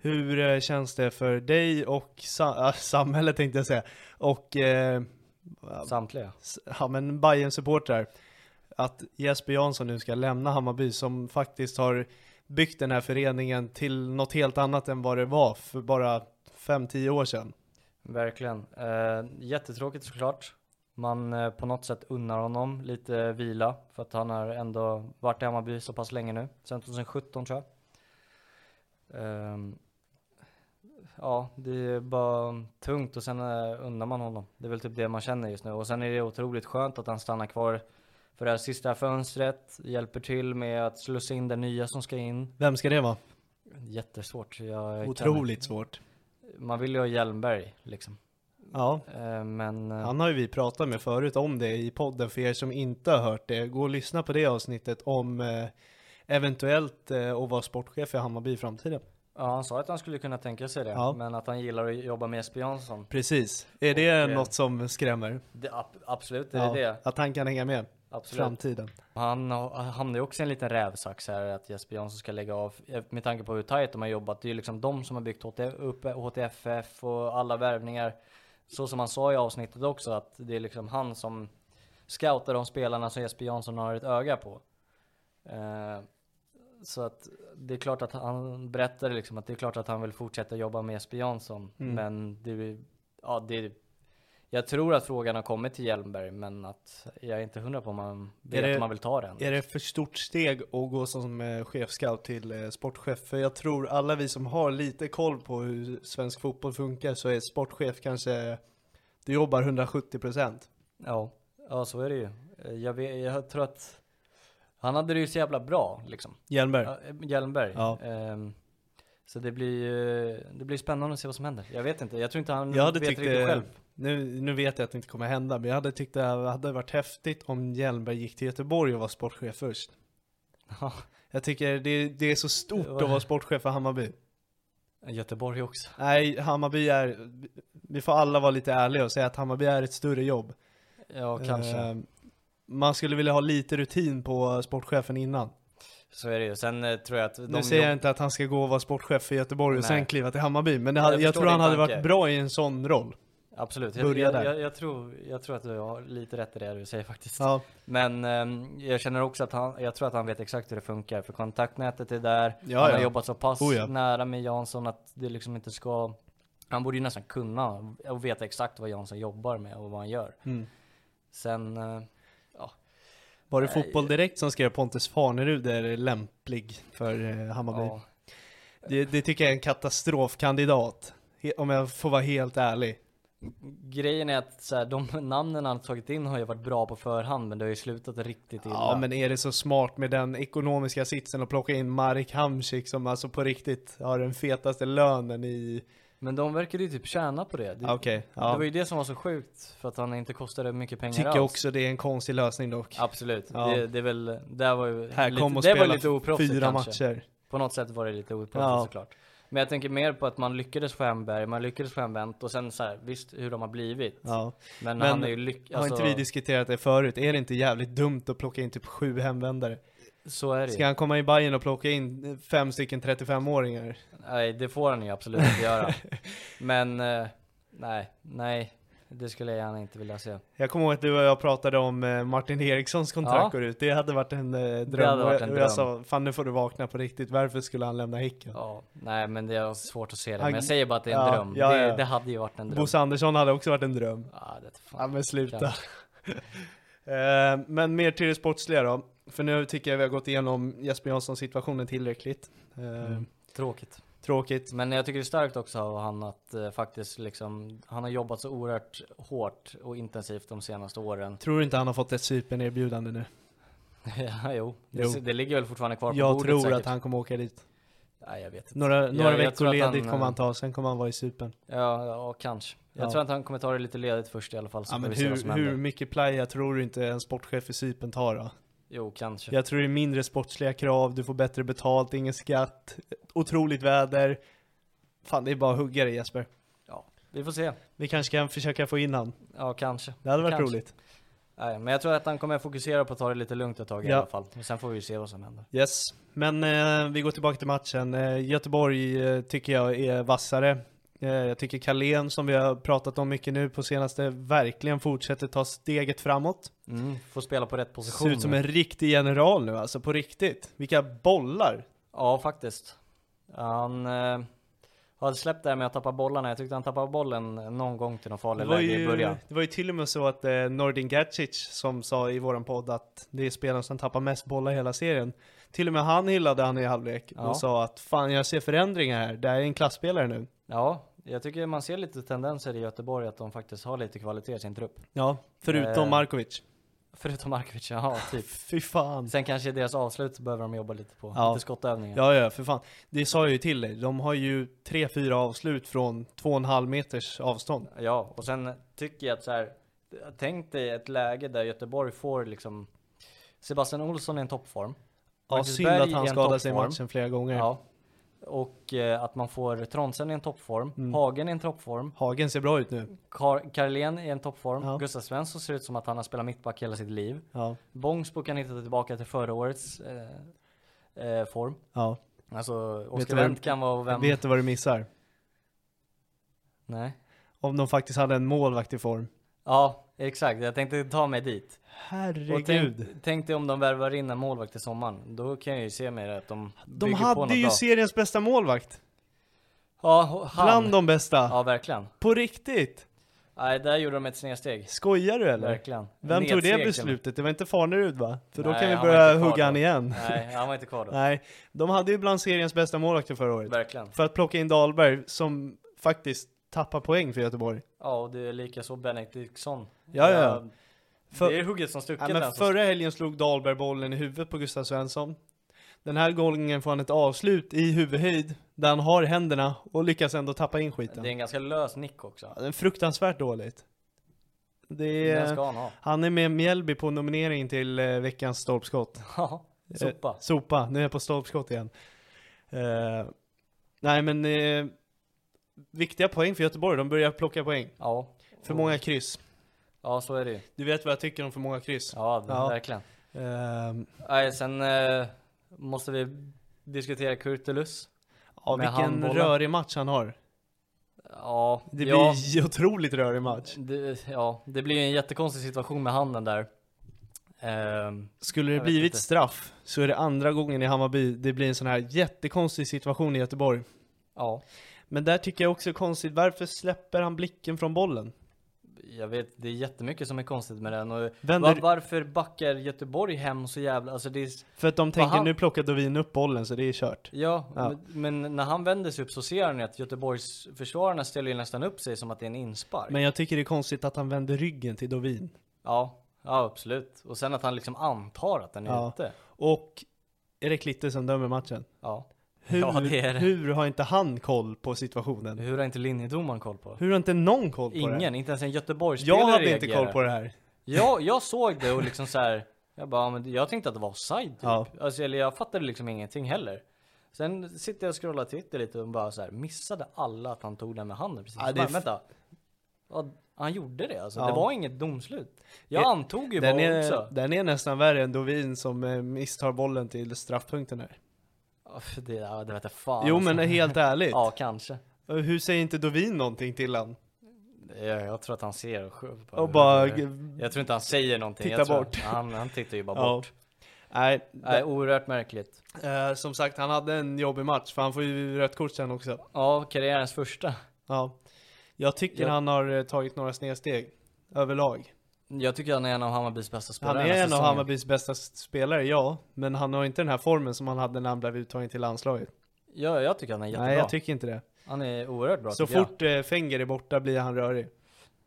S1: Hur eh, känns det för dig och sa- äh, samhället tänkte jag säga, och eh,
S2: Samtliga.
S1: s- ja, men bayern supportrar att Jesper Jansson nu ska lämna Hammarby som faktiskt har byggt den här föreningen till något helt annat än vad det var för bara 5-10 år sedan.
S2: Verkligen. Eh, jättetråkigt såklart. Man eh, på något sätt unnar honom lite vila för att han har ändå varit i Hammarby så pass länge nu. Sen 2017 tror jag. Ehm, ja, det är bara tungt och sen eh, unnar man honom. Det är väl typ det man känner just nu. Och sen är det otroligt skönt att han stannar kvar för det här sista fönstret. Hjälper till med att slussa in den nya som ska in.
S1: Vem ska det vara?
S2: Jättesvårt. Jag kan-
S1: Otroligt svårt.
S2: Man vill ju ha Hjelmberg liksom.
S1: Ja,
S2: Eh, men... eh,
S1: han har ju vi pratat med förut om det i podden för er som inte har hört det. Gå och lyssna på det avsnittet om eh, eventuellt eh, att vara sportchef i Hammarby i framtiden.
S2: Ja, han sa att han skulle kunna tänka sig det,
S1: Ja.
S2: men att han gillar att jobba med Jesper Jansson.
S1: Precis. Är det
S2: Och, eh,
S1: något som skrämmer?
S2: Det, ab- absolut, det är
S1: Ja,
S2: det.
S1: Att han kan hänga med
S2: Absolut.
S1: framtiden.
S2: Han har- hamnar ju också i en liten rävsax här, att Jesper Jansson ska lägga av. Eh, Med tanke på hur tajt de har jobbat, det är ju liksom de som har byggt HT, upp HTFF och alla värvningar. Så som han sa i avsnittet också, att det är liksom han som scouta de spelarna som Jesper Jansson har ett öga på. Eh, så att det är klart att han berättade liksom att det är klart att han vill fortsätta jobba med Jesper Jansson. Men det, ja, det, jag tror att frågan har kommit till Hjelmberg men att jag är inte hundra på om man vet
S1: det-
S2: om man vill ta den.
S1: Är det för stort steg att gå som eh, chefscout till eh, sportchef? För jag tror alla vi som har lite koll på hur svensk fotboll funkar så är sportchef kanske, du jobbar 170 procent.
S2: Ja, ja så är det ju. Eh, Jag, vet, jag tror att han hade det ju så jävla bra liksom.
S1: Hjelmberg?
S2: Ja, eh, Hjelmberg.
S1: Ja.
S2: Ehm, så det blir ju det blir spännande att se vad som händer. Jag vet inte, jag tror inte han
S1: Jag hade
S2: vet
S1: tyckt
S2: riktigt
S1: det,
S2: själv.
S1: Nu, nu vet jag att det inte kommer hända, men jag hade tyckt det hade varit häftigt om Hjelmberg gick till Göteborg och var sportchef först.
S2: Ja,
S1: Jag tycker det, det är så stort
S2: Det var-
S1: att vara sportchef för Hammarby.
S2: Göteborg också.
S1: Nej, Hammarby är, vi får alla vara lite ärliga och säga att Hammarby är ett större jobb.
S2: Ja, kanske.
S1: Eh, Man skulle vilja ha lite rutin på sportchefen innan.
S2: Så är det ju. Sen eh, tror jag att de
S1: nu säger jag
S2: jobb-
S1: inte att han ska gå och vara sportchef för Göteborg och
S2: Nej.
S1: sen kliva till Hammarby, men det,
S2: Jag
S1: hade- jag
S2: förstår
S1: tror han
S2: din
S1: hade
S2: tanke.
S1: varit bra i en sån roll.
S2: Absolut. Jag,
S1: börjar
S2: jag,
S1: där.
S2: jag, jag, tror, jag tror att du har lite rätt i det du säger faktiskt.
S1: Ja,
S2: Men ehm, jag känner också att han, jag tror att han vet exakt hur det funkar. För kontaktnätet är där,
S1: Ja,
S2: han har
S1: ja.
S2: jobbat så pass
S1: Oh, ja.
S2: nära med Jansson att det liksom inte ska... Han borde ju nästan kunna och veta exakt vad Jansson jobbar med och vad han gör.
S1: Mm.
S2: Sen, eh,
S1: var det Fotboll Direkt som skrev Pontus Farnerud är lämplig för eh, Hammarby?
S2: ja.
S1: Det, det tycker jag är en katastrofkandidat, he- om jag får vara helt ärlig.
S2: Grejen är att så här, de namnen han tagit in har ju varit bra på förhand men det har ju slutat riktigt illa.
S1: Ja, men är det så smart med den ekonomiska sitsen att plocka in Marek Hamsik som alltså på riktigt har den fetaste lönen i...
S2: Men de verkade ju typ tjäna på det. Det,
S1: Okej, ja.
S2: det var ju det som var så sjukt för att han inte kostade mycket pengar
S1: Tycker
S2: alls.
S1: jag också det är en konstig lösning dock.
S2: Absolut,
S1: Ja.
S2: det, det är väl, där var ju
S1: Här
S2: lite,
S1: kom och
S2: det var
S1: spela
S2: lite oproffsigt
S1: fyra
S2: kanske.
S1: matcher.
S2: På något sätt var det lite oproffsigt
S1: Ja.
S2: såklart. Men jag tänker mer på att man lyckades få hem Berg, man lyckades få hem Wendt och sen så här, visst hur de har blivit.
S1: Ja.
S2: Men,
S1: Men
S2: han är ju lyck...
S1: Har
S2: Alltså,
S1: inte vi diskuterat det förut? Är det inte jävligt dumt att plocka in typ sju hemvändare?
S2: så är det
S1: Ska
S2: ju.
S1: han komma i Bayern och plocka in eh, fem stycken 35-åringar?
S2: Nej, det får han ju absolut inte göra. Men, eh, nej, nej. Det skulle jag gärna inte vilja se.
S1: Jag kommer ihåg att du och jag pratade om eh, Martin Erikssons kontrakt
S2: Ja.
S1: går ut. Det hade varit en eh, dröm.
S2: hade varit en
S1: och jag
S2: dröm.
S1: sa, fan nu får du vakna på riktigt. Varför skulle han lämna Häcken?
S2: Ja, nej men det är svårt att se det.
S1: Han-
S2: Men jag säger bara att det är en
S1: Ja,
S2: dröm.
S1: ja, ja.
S2: Det, det hade ju varit en dröm.
S1: Bosse Andersson hade också varit en dröm.
S2: Ja, det är fan.
S1: Ja men sluta.
S2: Kanske.
S1: Eh, men mer till det sportsliga då. För nu tycker jag vi har gått igenom Jesper Janssons situationen tillräckligt. Eh,
S2: Mm. Tråkigt.
S1: Tråkigt.
S2: Men jag tycker det är starkt också av han att eh, faktiskt liksom, han har jobbat så oerhört hårt och intensivt de senaste åren.
S1: Tror du inte han har fått ett Cypern-erbjudande nu?
S2: ja, jo,
S1: Jo.
S2: Det, det ligger väl fortfarande kvar på
S1: Jag
S2: bordet
S1: tror
S2: säkert.
S1: att han kommer åka dit.
S2: Nej, jag vet inte.
S1: Några, några
S2: jag
S1: veckor
S2: tror att
S1: ledigt
S2: han,
S1: kommer han
S2: eh,
S1: ta, sen kommer han vara i Cypern.
S2: Ja, ja kanske. Jag
S1: Ja.
S2: tror att han kommer ta det lite ledigt först i alla fall. Så
S1: Ja,
S2: får
S1: men
S2: vi se vad som
S1: hur, hur
S2: händer.
S1: mycket playa tror du inte en sportchef i Cypern tar då?
S2: Jo, kanske.
S1: Jag tror det är mindre sportsliga krav, du får bättre betalt, ingen skatt, otroligt väder. Fan, det är bara att hugga det Jesper.
S2: Ja, vi får se.
S1: Vi kanske kan försöka få in han.
S2: Ja, kanske.
S1: Det hade varit
S2: kanske.
S1: roligt.
S2: Nej, men jag tror att han kommer fokusera på att ta det lite lugnt ett tag i
S1: Ja.
S2: alla fall. Och sen får vi ju se vad som händer.
S1: Yes, men eh, vi går tillbaka till matchen. Eh, Göteborg eh, tycker jag är vassare. Eh, jag tycker Carlén, som vi har pratat om mycket nu på senaste, verkligen fortsätter ta steget framåt.
S2: Mm, får spela på rätt
S1: Ser
S2: position.
S1: ut som
S2: nu.
S1: en riktig general nu alltså, på riktigt. Vilka bollar!
S2: Ja, faktiskt. Han eh, hade släppt det här med att tappa bollarna. Jag tyckte han tappade bollen någon gång till någon
S1: Det
S2: farlig
S1: var,
S2: läge i
S1: ju,
S2: början.
S1: det var ju till och med så att eh, Nordin Gacic, som sa i våran podd att det är spelaren som tappar mest bollar i hela serien. Till och med han hyllade han i halvlek
S2: Ja.
S1: och sa att fan jag ser förändringar här, det här är en klassspelare nu.
S2: Ja, jag tycker man ser lite tendenser i Göteborg att de faktiskt har lite kvalitet i sin trupp.
S1: Ja, förutom
S2: Eh.
S1: Markovic.
S2: Förutom Markovic, ja typ.
S1: Fy fan.
S2: Sen kanske deras avslut behöver de jobba lite på.
S1: Ja.
S2: Lite skottövningar.
S1: Ja, ja, för fan. Det sa jag ju till dig. De har ju tre, fyra avslut från två och en halv meters avstånd.
S2: Ja, och sen tycker jag att så här, tänk dig ett läge där Göteborg får liksom Sebastian Olsson i en toppform.
S1: Ja,
S2: Marcus
S1: synd
S2: Berg
S1: att
S2: i
S1: han
S2: en
S1: skadade sig i
S2: toppform.
S1: matchen flera gånger.
S2: Ja. Och eh, att man får Tronsen i en toppform,
S1: Mm.
S2: Hagen i en toppform,
S1: Hagen ser bra ut nu.
S2: Kar- Karlén i en toppform,
S1: Ja.
S2: Gustav Svensson ser ut som att han har spelat mittback hela sitt liv.
S1: Ja,
S2: Bångsbo kan hitta tillbaka till förra årets eh, eh, form.
S1: ja.
S2: Alltså,
S1: Vet du
S2: Oskar
S1: vad-
S2: Wendt kan vara vem...
S1: Vet du vad du missar?
S2: Nej.
S1: Om de faktiskt hade en målvakt i form.
S2: Ja,
S1: Exakt, jag tänkte ta mig dit. Och tänk,
S2: Herregud.
S1: tänk dig om de värvar in en målvakt till sommaren. Då kan jag ju se mer att de
S2: De
S1: bygger på
S2: hade
S1: något
S2: ju
S1: bra.
S2: seriens bästa målvakt.
S1: Ja, och han.
S2: Bland de bästa.
S1: Ja, verkligen.
S2: På riktigt.
S1: Nej, där gjorde de ett snedsteg.
S2: Skojar du eller?
S1: Verkligen.
S2: Vem tog det
S1: Nedsteg,
S2: beslutet? Det var inte Farnerud va? För då
S1: Nej,
S2: kan vi
S1: han var
S2: börja
S1: inte kvar
S2: hugga han
S1: då.
S2: igen.
S1: Nej, han var inte kvar då.
S2: Nej, de hade ju bland seriens bästa målvakter förra året.
S1: Verkligen.
S2: För att plocka in Dahlberg som faktiskt tappar poäng för Göteborg.
S1: Ja, och det är likaså Benediktsson.
S2: Ja, ja, ja. För-
S1: Det är hugget som stucket. alltså.
S2: Ja, men
S1: den som-
S2: förra helgen slog Dahlberg bollen i huvudet på Gustav Svensson. Den här gången får han ett avslut i huvudhöjd där han har händerna och lyckas ändå tappa in
S1: Det
S2: skiten.
S1: är en ganska lös nick också.
S2: Ja, Det är fruktansvärt dåligt. Det
S1: Den ska
S2: är...
S1: han ha.
S2: Han är med Mjällby på nominering till eh, veckans stolpskott.
S1: Ja, sopa.
S2: Eh, sopa, nu är jag på stolpskott igen. Eh, nej men, eh, viktiga poäng för Göteborg, de börjar plocka poäng.
S1: Ja.
S2: För många kryss.
S1: Ja, så är det ju.
S2: Du vet vad jag tycker om för många kryss.
S1: Ja,
S2: Ja.
S1: verkligen.
S2: Eh,
S1: Nej, sen eh, måste vi diskutera Kurtulus.
S2: ja,
S1: Med
S2: vilken
S1: handbollen.
S2: rörig match han har.
S1: Ja,
S2: Det
S1: ja,
S2: blir en otroligt rörig match.
S1: det, ja, det blir ju en jättekonstig situation med handen där. Ehm,
S2: Skulle det
S1: Jag vet
S2: blivit
S1: inte.
S2: straff så är det andra gången i Hammarby det blir en sån här jättekonstig situation i Göteborg.
S1: ja,
S2: Men där tycker jag också är konstigt, varför släpper han blicken från bollen?
S1: jag vet, det är jättemycket som är konstigt med den. Och
S2: Vänder-
S1: var, varför backar Göteborg hem så jävla, alltså det är,
S2: För att de tänker
S1: han-
S2: nu plockar Dovin upp bollen så det är kört.
S1: ja,
S2: Ja.
S1: Men, men när han vänder sig upp så ser han ju att Göteborgs försvararna ställer ju nästan upp sig som att det är en inspark.
S2: Men jag tycker det är konstigt att han vänder ryggen till Dovin.
S1: Ja, ja absolut. Och sen att han liksom antar att den är
S2: Ja.
S1: ute.
S2: Och Erik Litte som dömer matchen.
S1: Ja.
S2: Hur,
S1: Ja, det är det.
S2: hur har inte han koll på situationen?
S1: Hur har inte linjedomaren koll på?
S2: Hur har inte någon koll på det? här?
S1: Ingen, inte ens en Göteborgsspelare
S2: Jag hade inte
S1: reagerar.
S2: koll på det här.
S1: Jag, jag såg det och liksom så här. Jag bara, ja, men jag tänkte att det var offside typ.
S2: Ja.
S1: alltså, eller jag fattade liksom ingenting heller. Sen sitter jag och scrollar Twitter lite och bara så här, missade alla att han tog den med handen precis.
S2: Ja,
S1: Ja,
S2: det är
S1: bara,
S2: f-
S1: vänta. Ja, han gjorde det alltså.
S2: Ja.
S1: Det var inget domslut. Jag
S2: Det-
S1: antog ju
S2: Eh, Den
S1: bara
S2: är,
S1: också.
S2: den är nästan värre än Dovin som eh, misstar bollen till straffpunkten här.
S1: Ja, för Det, ja, det vete fan.
S2: Jo
S1: alltså.
S2: men helt ärligt.
S1: Ja, kanske.
S2: Hur säger inte Dovin någonting till han?
S1: Jag, jag tror att han ser och sj-
S2: Och bara-
S1: Jag tror inte han säger någonting.
S2: Titta
S1: jag tror,
S2: bort.
S1: Han, han tittar ju bara
S2: Ja.
S1: bort.
S2: Nej,
S1: Nej, oerhört märkligt.
S2: eh, som sagt han hade en jobbig match för han får ju rött kort sen också.
S1: Ja, karriärens första.
S2: Ja. Jag tycker
S1: Ja.
S2: han har eh, tagit några snedsteg överlag.
S1: Jag tycker han är en av Hammarbys bästa
S2: Han
S1: spelare den här
S2: är en av
S1: säsongen.
S2: Hammarbys bästa s- spelare, ja. Men han har inte den här formen som han hade när han blev uttagen till landslaget.
S1: Ja, jag tycker han är jättebra.
S2: Nej, jag tycker inte det.
S1: Han är oerhört bra
S2: så
S1: tycker jag.
S2: fort eh, Fenger är borta blir han rörig.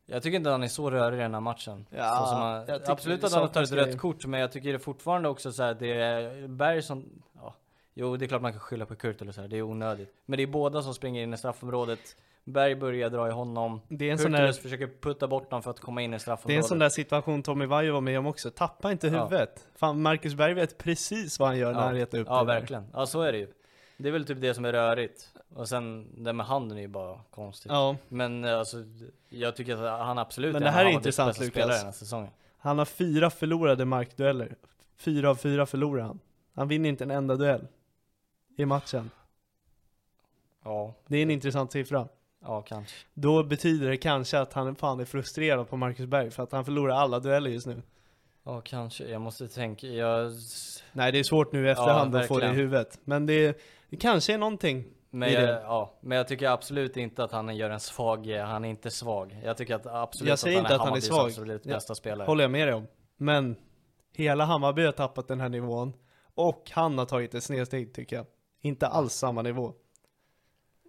S1: jag tycker inte han är så rörig i den här matchen.
S2: Ja,
S1: så som han,
S2: jag tycker
S1: absolut
S2: det
S1: att han har
S2: saknas
S1: tagit rätt
S2: grejer.
S1: kort, men jag tycker det fortfarande också så här, det är Berg som... Ja. Jo, det är klart man kan skylla på Kurt eller så här, det är onödigt. Men det är båda som springer in i straffområdet. Berg börjar dra i honom.
S2: Det är en sån
S1: Kurtulus
S2: där-
S1: försöker putta bort honom för att komma in i
S2: Det är en
S1: straffområdet.
S2: sån där situation Tommy Vaiho var med om också. Tappa inte
S1: Ja.
S2: huvudet. Fan, Marcus Berg vet precis vad han gör när han retar upp
S1: Ja,
S2: det där.
S1: verkligen. Ja, så är det ju. Det är väl typ det som är rörigt. Och sen, det med handen är ju bara konstigt.
S2: Ja.
S1: Men eh, alltså, jag tycker att han absolut en
S2: Men det
S1: av
S2: här är
S1: Hammarbys
S2: intressant,
S1: bästa
S2: Lukas.
S1: spelare den här säsongen.
S2: Han har fyra förlorade markdueller. Fyra av fyra förlorar han. Han vinner inte en enda duell i matchen.
S1: Ja,
S2: Det är en intressant siffra.
S1: ja kanske.
S2: Då betyder det kanske att han fan är frustrerad på Marcus Berg för att han förlorar alla dueller just nu.
S1: Ja, kanske. Jag måste tänka. Jag...
S2: Nej, det är svårt nu i efterhand att få det i
S1: verkligen.
S2: huvudet. Men det, det kanske är någonting
S1: Men,
S2: i
S1: jag,
S2: det.
S1: ja, men jag tycker absolut inte att han gör en svag, eh, han är inte svag. Jag tycker att absolut
S2: Jag säger
S1: att han
S2: inte
S1: är
S2: att han är
S1: Hammarbys
S2: svag.
S1: absolut
S2: Ja,
S1: bästa spelare.
S2: Håller jag med dig om. Men hela Hammarby har tappat den här nivån. Och han har tagit ett snedsteg tycker jag. Inte alls samma nivå.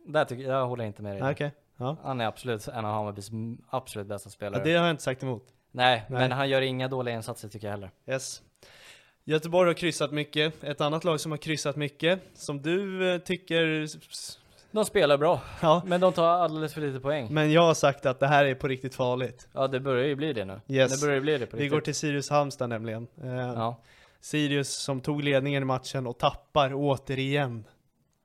S1: Där tycker, jag håller inte med dig.
S2: Okej. Ja.
S1: Han är absolut en av Hammarbys m- absolut bästa
S2: ja,
S1: spelare.
S2: det har jag inte sagt emot.
S1: Nej,
S2: Nej.
S1: men han gör inga dåliga insatser tycker jag heller.
S2: Yes. Göteborg har kryssat mycket. Ett annat lag som har kryssat mycket, som du eh, tycker...
S1: De spelar bra,
S2: Ja,
S1: men de tar alldeles för lite poäng.
S2: men jag har sagt att det här är på riktigt farligt.
S1: Ja, det börjar ju bli det nu.
S2: Yes.
S1: Det börjar ju bli det på
S2: Vi
S1: riktigt.
S2: går till Sirius Halmstad nämligen. Eh,
S1: Ja,
S2: Sirius som tog ledningen i matchen och tappar återigen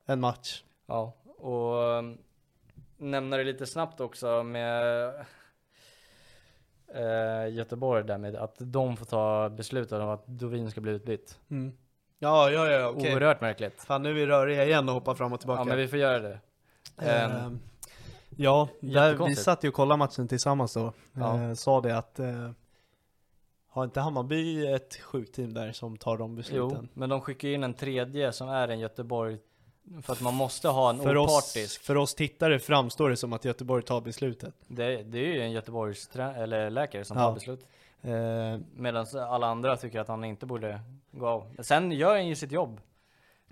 S2: en match.
S1: ja. Och um, nämna det lite snabbt också med eh, Göteborg där med att de får ta beslutet om att Dovin ska bli utbytt.
S2: Ja, ja, ja, okej.
S1: Oerhört märkligt.
S2: Fan, nu Eh, är vi röriga igen och hoppar fram och tillbaka.
S1: Ja, men vi får göra det. Ehm,
S2: Ehm, Ja, där, vi
S1: Jättekonstigt.
S2: satt ju och kollade matchen tillsammans då.
S1: Ja.
S2: Eh, sa det att eh, har inte Hammarby ett sjukt team där som tar de
S1: Jo,
S2: besluten?
S1: men de skickar ju in en tredje som är en Göteborg. För att man måste ha en
S2: För oss,
S1: opartisk.
S2: för oss tittare framstår det som att Göteborg tar beslutet.
S1: Det, det är ju en Göteborgs trä- eller läkare som
S2: Ja.
S1: tar beslut.
S2: Eh,
S1: Medan alla andra tycker att han inte borde gå av. Sen gör han ju sitt jobb.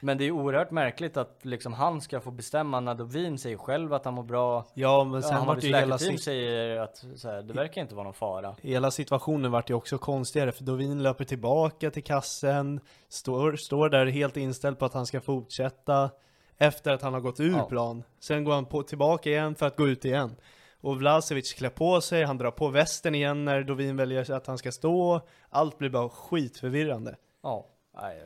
S1: Men det är ju oerhört märkligt att liksom han ska få bestämma när Dovin säger själv att han mår bra.
S2: ja, men
S1: Ja,
S2: sen vart
S1: Hammarbys
S2: ju hela,
S1: läkarteam
S2: sit-
S1: säger att så här, det verkar inte vara någon fara.
S2: hela situationen vart ju också konstigare för Dovin löper tillbaka till kassen, står, står där helt inställd på att han ska fortsätta efter att han har gått ur
S1: Ja.
S2: plan. Sen går han på, tillbaka igen för att gå ut igen. Och Vlasevic klär på sig, han drar på västen igen när Dovin väljer att han ska stå. Allt blir bara skitförvirrande.
S1: Ja, nej.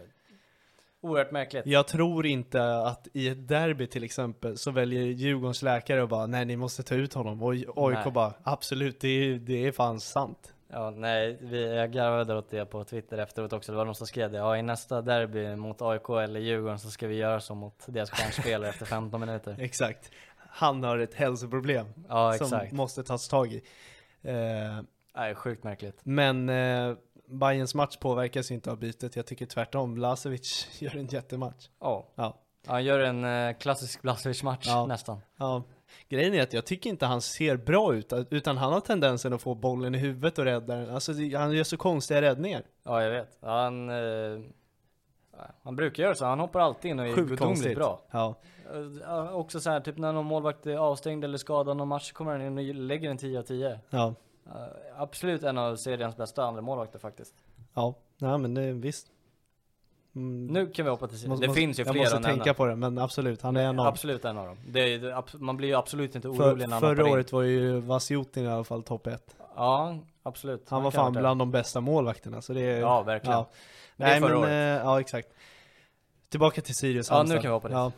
S1: Oerhört märkligt.
S2: Jag tror inte att i ett derby till exempel så väljer Djurgårdens läkare och bara nej ni måste ta ut honom och AIK
S1: Nej.
S2: bara absolut det är, det är fan sant.
S1: Ja, nej, vi, jag garvade åt det på Twitter efteråt också. Det var någon som skrev det. Ja, i nästa derby mot AIK eller Djurgården så ska vi göra så mot deras stjärnspelare efter 15 minuter.
S2: Exakt. Han har ett hälsoproblem
S1: Ja,
S2: som
S1: exakt.
S2: måste tas tag i. Eh,
S1: Nej, sjukt märkligt.
S2: men eh, Bayerns match påverkas ju inte av bytet. Jag tycker tvärtom. Lasevic gör en jättematch.
S1: Ja,
S2: Ja.
S1: han gör en eh, klassisk Blasevic-match
S2: Ja.
S1: nästan.
S2: Ja, grejen är att jag tycker inte han ser bra ut, utan han har tendensen att få bollen i huvudet och rädda den. Alltså, det- han gör så konstiga räddningar.
S1: Ja, jag vet. Han, eh, han brukar göra så. Han hoppar alltid in och är
S2: Sjukt konstigt.
S1: gudomligt bra.
S2: Ja.
S1: Eh, Också så här, typ när någon målvakt är avstängd eller skadad någon match så kommer han in och lägger en 10 av 10.
S2: Ja,
S1: Eh, Absolut en av seriens bästa andra målvakter faktiskt.
S2: ja. Nej, men det, visst. Mm,
S1: Nu kan vi hoppa till sidan.
S2: måste-
S1: Det
S2: måste-
S1: finns ju
S2: Jag
S1: fler
S2: måste
S1: att nämna.
S2: tänka på det, men absolut, han är en av
S1: Absolut en av dem. Det är, det, abs- man blir ju absolut inte
S2: För,
S1: orolig när han
S2: förra
S1: hoppar in.
S2: året var ju Vasjutin i alla fall topp 1.
S1: Ja, absolut.
S2: Han var
S1: kan ha
S2: fan
S1: varit
S2: bland de bästa målvakterna. Så det är,
S1: Ja, verkligen. Men det är
S2: Nej, men,
S1: förra
S2: eh, ja exakt. Tillbaka till Sirius.
S1: Ja, nu
S2: Halmstad.
S1: kan vi hoppa dit.
S2: Ja.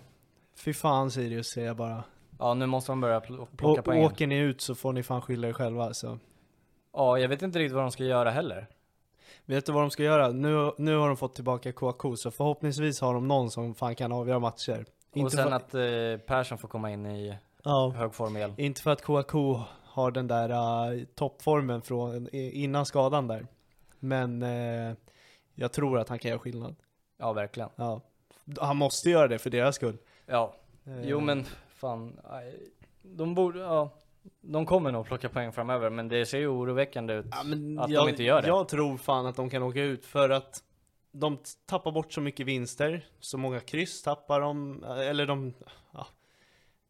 S2: Fy fan Sirius säger jag bara.
S1: det. Ja, nu måste man börja pl- plocka
S2: Och,
S1: poäng.
S2: åker ni ut så får ni fan skylla er själva. Så.
S1: Ja, jag vet inte riktigt vad de ska göra heller.
S2: Vet du vad de ska göra? Nu, nu har de fått tillbaka Kouakou, så förhoppningsvis har de någon som fan kan avgöra matcher.
S1: och
S2: för,
S1: sen att eh, Persson får komma in i
S2: ja,
S1: hög form igen.
S2: inte för att Kouakou har den där eh, toppformen från, eh, innan skadan där. Men eh, jag tror att han kan göra skillnad.
S1: Ja, verkligen.
S2: Ja. Han måste göra det för deras skull.
S1: Ja,
S2: Eh,
S1: jo men fan. aj. De borde, ja. De kommer nog plocka poäng framöver, men det ser ju oroväckande ut.
S2: Ja, men
S1: Att de
S2: jag,
S1: inte gör det.
S2: Jag tror fan att de kan åka ut för att de t- tappar bort så mycket vinster, så många kryss tappar de, eller de... Ja.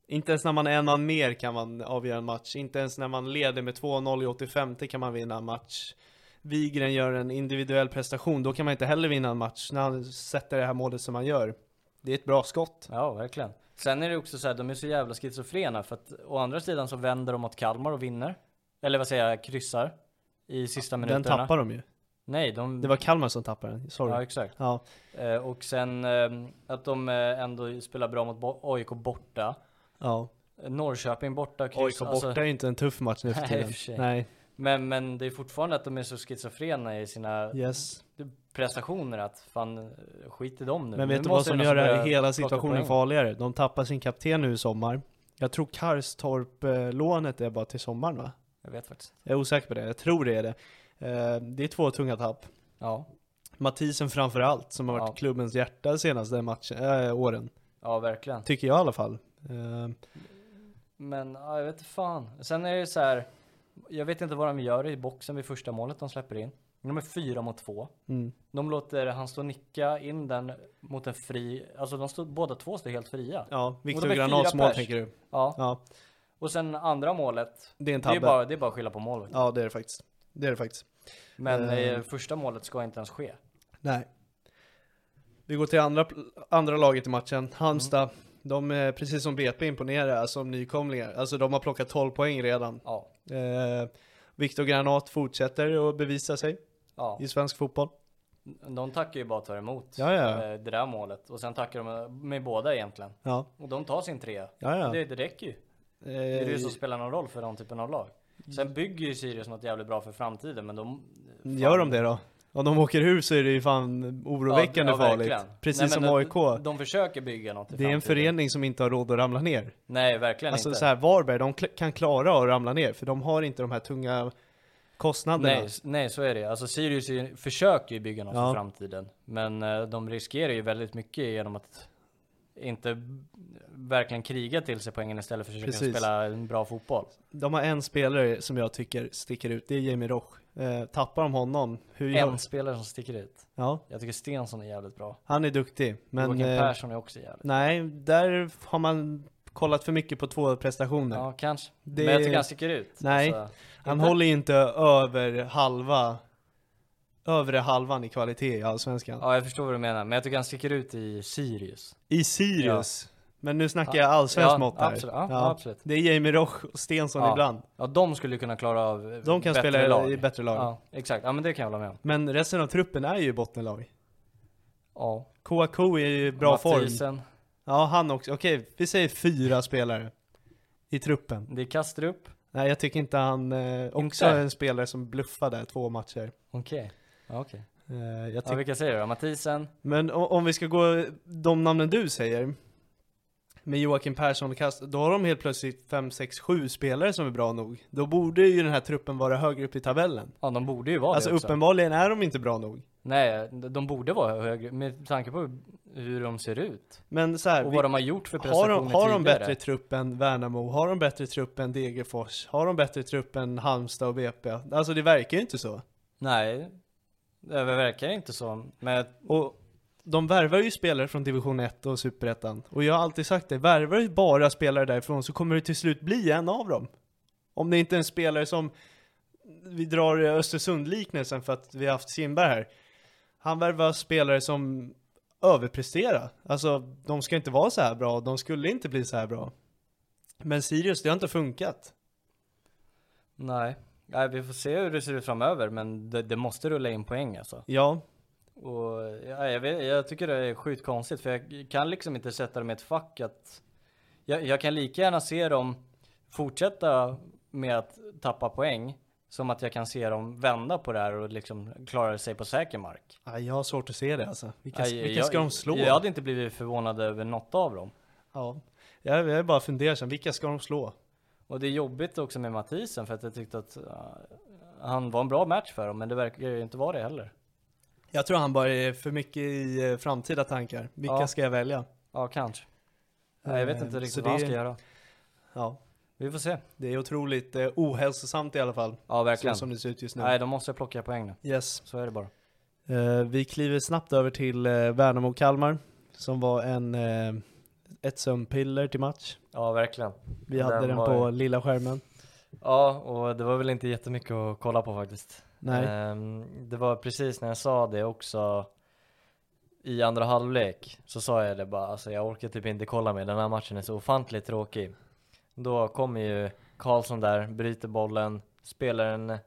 S2: Inte ens när man är en man mer kan man avgöra en match, inte ens när man leder med 2-0 i 85 kan man vinna en match. Wigren gör en individuell prestation, då kan man inte heller vinna en match när han sätter det här målet som han gör. Det är ett bra skott.
S1: Ja, verkligen. Sen är det också så här, de är så jävla schizofrena för att å andra sidan så vänder de mot Kalmar och vinner. Eller vad säger jag, kryssar. I sista minuterna.
S2: Den tappar de ju.
S1: Nej, de...
S2: Det var Kalmar som tappade den, sorry.
S1: Ja, exakt.
S2: Ja,
S1: Eh, och sen eh, att de eh, ändå spelar bra mot bo- AIK borta.
S2: ja.
S1: Eh, Norrköping borta, kryss.
S2: AIK borta är ju inte en tuff match nu för
S1: alltså- Nej, i
S2: tiden.
S1: och för sig.
S2: Nej,
S1: men, men det är fortfarande att de är så schizofrena i sina
S2: yes.
S1: prestationer att fan eh, skit i dem nu.
S2: Men
S1: nu
S2: vet du vad
S1: måste
S2: som
S1: någon
S2: gör det här
S1: börjar
S2: hela
S1: plocka
S2: situationen
S1: poäng.
S2: farligare? De tappar sin kapten nu i sommar. Jag tror Karstorp-lånet är bara till sommaren va?
S1: Jag vet faktiskt.
S2: Jag är osäker på det, jag tror det är det. Eh, Det är två tunga tapp.
S1: Ja,
S2: Mathisen framför allt, som har varit
S1: Ja.
S2: klubbens hjärta de senaste matchen, äh, åren.
S1: ja verkligen.
S2: Tycker jag i alla fall. Eh,
S1: Men ja, jag vet inte fan. Sen är det så här. Jag vet inte vad de gör i boxen vid första målet de släpper in. De är fyra mot två.
S2: Mm.
S1: De låter han stå och nicka in den mot en fri, alltså de står, båda två står helt fria.
S2: Ja, Viktor
S1: de är fyra
S2: Granats mål
S1: pers.
S2: tänker du?
S1: Ja.
S2: Ja,
S1: Och sen andra målet,
S2: det är en
S1: det är,
S2: tabbe.
S1: bara, det är bara att skylla på målet.
S2: Ja, det är det faktiskt. Det är det faktiskt.
S1: Men
S2: Eh.
S1: eh, första målet ska inte ens ske.
S2: Nej. Vi går till andra, andra laget i matchen, Halmstad. De är precis som BP imponerade som nykomlingar. Alltså de har plockat 12 poäng redan.
S1: Ja.
S2: Eh, Viktor Granat fortsätter att bevisa sig
S1: ja.
S2: i svensk fotboll.
S1: De tackar ju bara att ta emot
S2: Ja, ja.
S1: eh, det där målet. Och sen tackar de med båda egentligen.
S2: Ja,
S1: Och de tar sin trea.
S2: ja, ja.
S1: Det, det räcker ju. Det är det som spelar någon roll för
S2: Mm.
S1: den typen av lag. Sen bygger ju Sirius något jävligt bra för framtiden men Eh, de...
S2: Gör de det då?
S1: Om de åker ur så är det ju fan oroväckande
S2: ja,
S1: farligt.
S2: verkligen.
S1: Precis
S2: Nej, men
S1: som
S2: de-
S1: AIK.
S2: De försöker bygga något i
S1: Det är en
S2: framtiden.
S1: förening som inte har råd att ramla ner.
S2: Nej, verkligen
S1: Alltså
S2: inte.
S1: så här, Varberg, de kl- kan klara att ramla ner för de har inte de här tunga kostnaderna.
S2: Nej, s- nej, så är det. Alltså Sirius är ju- försöker ju bygga något
S1: Ja.
S2: för framtiden. Men eh, de riskerar ju väldigt mycket genom att inte b- verkligen kriga till sig poängen istället för att försöka
S1: Precis.
S2: spela en bra fotboll.
S1: De har en spelare som jag tycker sticker ut, det är Jamie Roch. Eh, tappar de honom, hur gör
S2: En spelare som sticker ut.
S1: Ja,
S2: Jag tycker Stensson är jävligt bra.
S1: han är duktig. Men
S2: Joakim
S1: eh,
S2: Persson är också jävligt bra.
S1: nej, där har man kollat för mycket på två prestationer.
S2: Ja, kanske.
S1: Det-
S2: Men jag tycker han sticker ut.
S1: Nej.
S2: Alltså,
S1: Han
S2: inte-
S1: håller ju inte över halva övre halvan i kvalitet i Allsvenskan.
S2: Ja, jag förstår vad du menar. Men jag tycker han sticker ut i Sirius.
S1: I Sirius. Men nu snackar
S2: Ja.
S1: jag allsvenskt
S2: Ja,
S1: mått här.
S2: absolut. Ja, absolut.
S1: Det är Jamie Roch och Stensson
S2: Ja.
S1: ibland.
S2: Ja, de skulle kunna klara av eh,
S1: De kan
S2: bättre
S1: spela i-
S2: lag.
S1: i bättre lag.
S2: Ja, exakt. Ja, men det kan jag hålla med om.
S1: Men resten av truppen är ju bottenlag.
S2: Ja.
S1: Kouakou är ju i bra form.
S2: Mathisen.
S1: Ja, han också. Okej, vi säger fyra spelare i truppen.
S2: Det är Kastrup.
S1: Nej, jag tycker inte han... Eh, också
S2: Inte?
S1: är en spelare som bluffade två matcher.
S2: Okej. Ja, okej.
S1: Eh, jag
S2: Ja,
S1: tycker
S2: vilka säger du då? Mathisen?
S1: Men o- om vi ska gå de namnen du säger med Joakim Persson och Kast, då har de helt plötsligt 5, 6, 7 spelare som är bra nog. Då borde ju den här truppen vara högre upp i tabellen.
S2: Ja, de borde ju vara
S1: alltså
S2: det också.
S1: uppenbarligen är de inte bra nog.
S2: Nej, de de borde vara högre med tanke på hur de ser ut.
S1: Men så här,
S2: Och
S1: vi-
S2: vad de har gjort för
S1: har
S2: prestationer
S1: de, har de
S2: tidigare.
S1: bättre trupp än Värnamo? Har de bättre trupp än Degerfors? Har de bättre trupp än Halmstad och BP? Alltså det verkar ju inte så.
S2: Nej, det verkar inte så. Men
S1: Och de värvar ju spelare från division 1 och superettan. Och jag har alltid sagt det, värvar du bara spelare därifrån så kommer du till slut bli en av dem. Om det inte är en spelare som, vi drar Östersund-liknelsen för att vi har haft Simberg här. Han värvar spelare som överpresterar. Alltså, de ska inte vara så här bra, de skulle inte bli så här bra. Men Sirius, det har inte funkat.
S2: nej. Nej, vi får se hur det ser ut framöver, men det, det måste rulla in poäng alltså.
S1: Ja,
S2: Och ja, jag, vet, jag tycker det är sjukt konstigt för jag kan liksom inte sätta dem i ett fack att jag, jag kan lika gärna se dem fortsätta med att tappa poäng som att jag kan se dem vända på det här och liksom klara sig på säker mark.
S1: aj, jag har svårt att se det alltså. Vilka,
S2: Aj,
S1: vilka
S2: jag-
S1: ska de slå?
S2: Jag hade inte blivit förvånad över något av dem.
S1: Ja, jag, jag är bara fundersam, vilka ska de slå?
S2: Och det är jobbigt också med Mathisen för att jag tyckte att ja, han var en bra match för dem men det verkar ju inte vara det heller.
S1: Jag tror han bara är för mycket i eh, framtida tankar. Vilka
S2: Ja.
S1: ska jag välja?
S2: Ja, kanske. Nej, jag vet
S1: Eh,
S2: inte riktigt
S1: så
S2: vad han
S1: det-
S2: ska göra.
S1: Ja,
S2: Vi får se.
S1: det är otroligt eh, ohälsosamt i alla fall.
S2: Ja, verkligen.
S1: Så som det ser ut just nu.
S2: Nej, de måste plocka poäng nu.
S1: Yes.
S2: Så är det bara.
S1: Eh, vi kliver snabbt över till eh, Värnamo och Kalmar som var en, eh, ett sömnpiller till match.
S2: Ja, verkligen.
S1: Vi
S2: Den
S1: hade den
S2: var-
S1: på lilla skärmen.
S2: Ja, och det var väl inte jättemycket att kolla på faktiskt.
S1: Nej.
S2: Ehm, det var precis när jag sa det också i andra halvlek så sa jag det bara, alltså jag orkar typ inte kolla mer, den här matchen är så ofantligt tråkig. Då kommer ju Karlsson där, bryter bollen, spelar en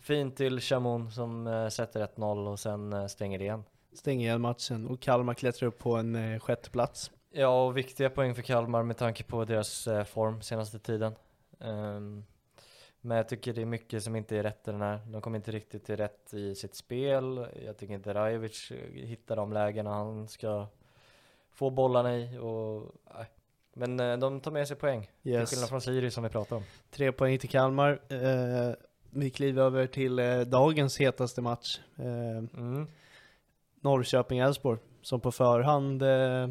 S2: fin till Shamoun som eh, sätter 1-0 och sen eh, stänger det igen.
S1: Stänger igen matchen och Kalmar klättrar upp på en eh, sjätte plats.
S2: Ja, och viktiga poäng för Kalmar med tanke på deras eh, form senaste tiden. Ehm, men jag tycker det är mycket som inte är rätt i den här. De kommer inte riktigt till rätt i sitt spel. Jag tycker inte Rajovic eh, hittar de lägena han ska få bollarna i. Och, nej. men eh, de tar med sig poäng. Till
S1: Yes.
S2: skillnad från Sirius som vi pratade om.
S1: Tre poäng till Kalmar. Eh, vi kliver över till eh, dagens hetaste match. Eh,
S2: Mm.
S1: Norrköping-Elfsborg som på förhand eh,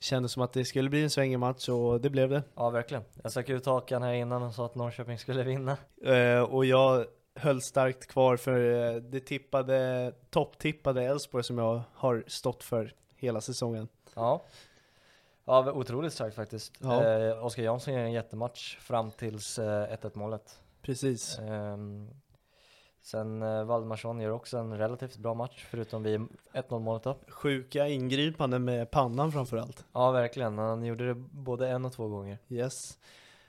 S1: kändes som att det skulle bli en svängig match och det blev det.
S2: Ja, verkligen. Jag stack ut hakan här innan och sa att Norrköping skulle vinna.
S1: Eh, och jag höll starkt kvar för eh, det tippade, topptippade Elfsborg som jag har stått för hela säsongen.
S2: Ja. Ja, otroligt starkt faktiskt.
S1: Ja.
S2: Eh, Oskar Jansson gör en jättematch fram tills eh, 1-1 målet.
S1: Precis.
S2: Ehm, sen eh, Valdemarsson gör också en relativt bra match, förutom vid 1-0 målet då.
S1: Sjuka ingripanden med pannan framförallt.
S2: Ja, verkligen. Han gjorde det både en och två gånger.
S1: Yes.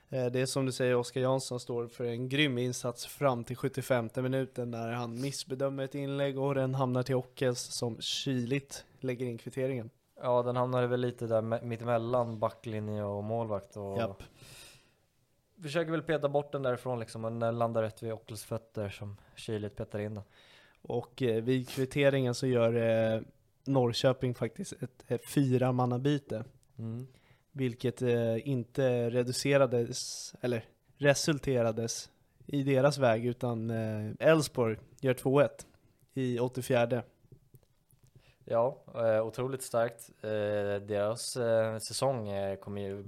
S1: Eh, Det är som du säger, Oskar Jansson står för en grym insats fram till 75 minuten när han missbedömer ett inlägg och den hamnar till Ockels som kyligt lägger in kvitteringen.
S2: Ja, den hamnade väl lite där me- mittemellan backlinje och målvakt och
S1: Japp.
S2: försöker väl peta bort den därifrån liksom, men den landar rätt vid Ockels fötter som kyligt petar in den.
S1: Och eh, vid kvitteringen så gör eh, Norrköping faktiskt ett, ett fyramannabyte.
S2: Mm.
S1: Vilket eh, inte reducerades, eller resulterades i deras väg utan eh, Elfsborg gör 2-1 i 84.
S2: Ja, eh, otroligt starkt. Eh, Deras eh, säsong eh, kommer ju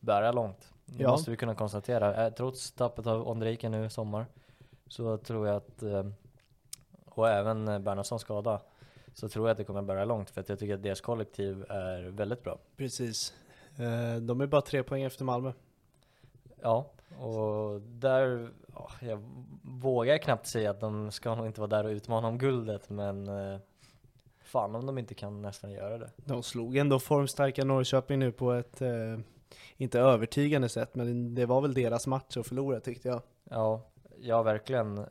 S2: bära långt. Det
S1: Ja.
S2: måste vi kunna konstatera. Eh, Trots tappet av Ondrejka nu i sommar så tror jag att, eh, och även eh, Bernhardssons skada, så tror jag att det kommer bära långt för att jag tycker att deras kollektiv är väldigt bra.
S1: Precis. Eh, de är bara tre poäng efter Malmö.
S2: Ja, och där, ja, jag vågar knappt säga att de ska nog inte vara där och utmana om guldet men eh, fan om de inte kan nästan göra det.
S1: De slog ändå formstarka Norrköping nu på ett, eh, inte övertygande sätt, men det var väl deras match att förlora tyckte jag.
S2: Ja, ja verkligen.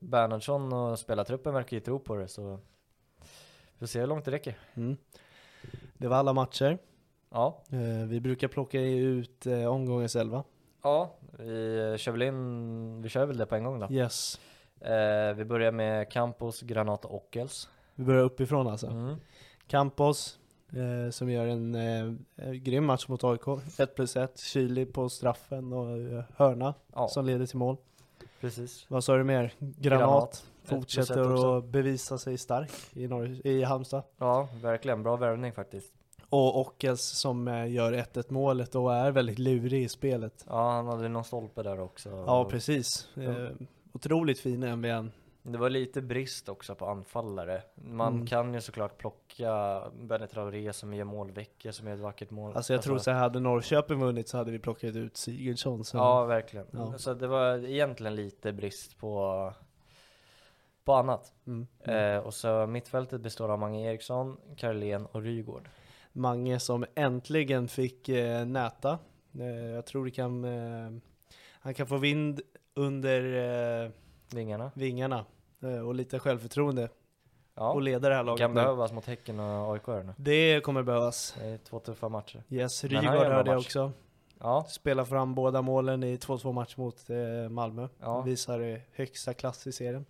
S2: Bernhardsson och spelartruppen verkar ju tro på det så vi får se hur långt det räcker.
S1: Mm. Det var alla matcher.
S2: Ja,
S1: Eh, vi brukar plocka ut eh, omgångens elva.
S2: ja vi eh, kör väl in, vi kör väl det på en gång då.
S1: Yes.
S2: Eh, vi börjar med Campos, Granat och Els.
S1: Vi börjar uppifrån alltså.
S2: Mm.
S1: Campos, eh, som gör en eh, grym match mot AIK. 1 plus 1, kylig på straffen och eh, hörna
S2: Ja,
S1: som leder till mål.
S2: precis.
S1: Vad sa du mer? Granat,
S2: Ett plus ett
S1: fortsätter
S2: också.
S1: att bevisa sig stark i, Norr- i Halmstad.
S2: Ja, verkligen. Bra värvning faktiskt.
S1: Och Ockels som eh, gör 1-1 målet och är väldigt lurig i spelet.
S2: Ja, han hade någon stolpe där också.
S1: Ja, precis. Eh, otroligt fin MVN.
S2: Det var lite brist också på anfallare. Man
S1: Mm.
S2: kan ju såklart plocka Benny Traoré som gör mål, Vecchia som gör ett vackert mål.
S1: Alltså jag tror så här, hade Norrköping vunnit så hade vi plockat ut Sigurdsson. Så.
S2: Ja, verkligen.
S1: Ja.
S2: Så det var egentligen lite brist på, på annat.
S1: Mm.
S2: Eh, och så mittfältet består av Mange Eriksson, Karlén och Rygård.
S1: Mange som äntligen fick eh, näta. Eh, jag tror det kan, eh, han kan få vind under eh,
S2: Vingarna.
S1: vingarna eh, och lite självförtroende och
S2: Ja,
S1: leda det här laget.
S2: kan
S1: nu.
S2: behövas mot Häcken och AIK här nu.
S1: Det kommer behövas.
S2: Det är två tuffa matcher.
S1: Yes,
S2: Men han
S1: Rygaard
S2: gör en bra
S1: hörde jag
S2: match.
S1: också.
S2: Ja,
S1: Spelar fram båda målen i 2-2 match mot eh, Malmö.
S2: Ja.
S1: Visar eh, högsta klass i serien.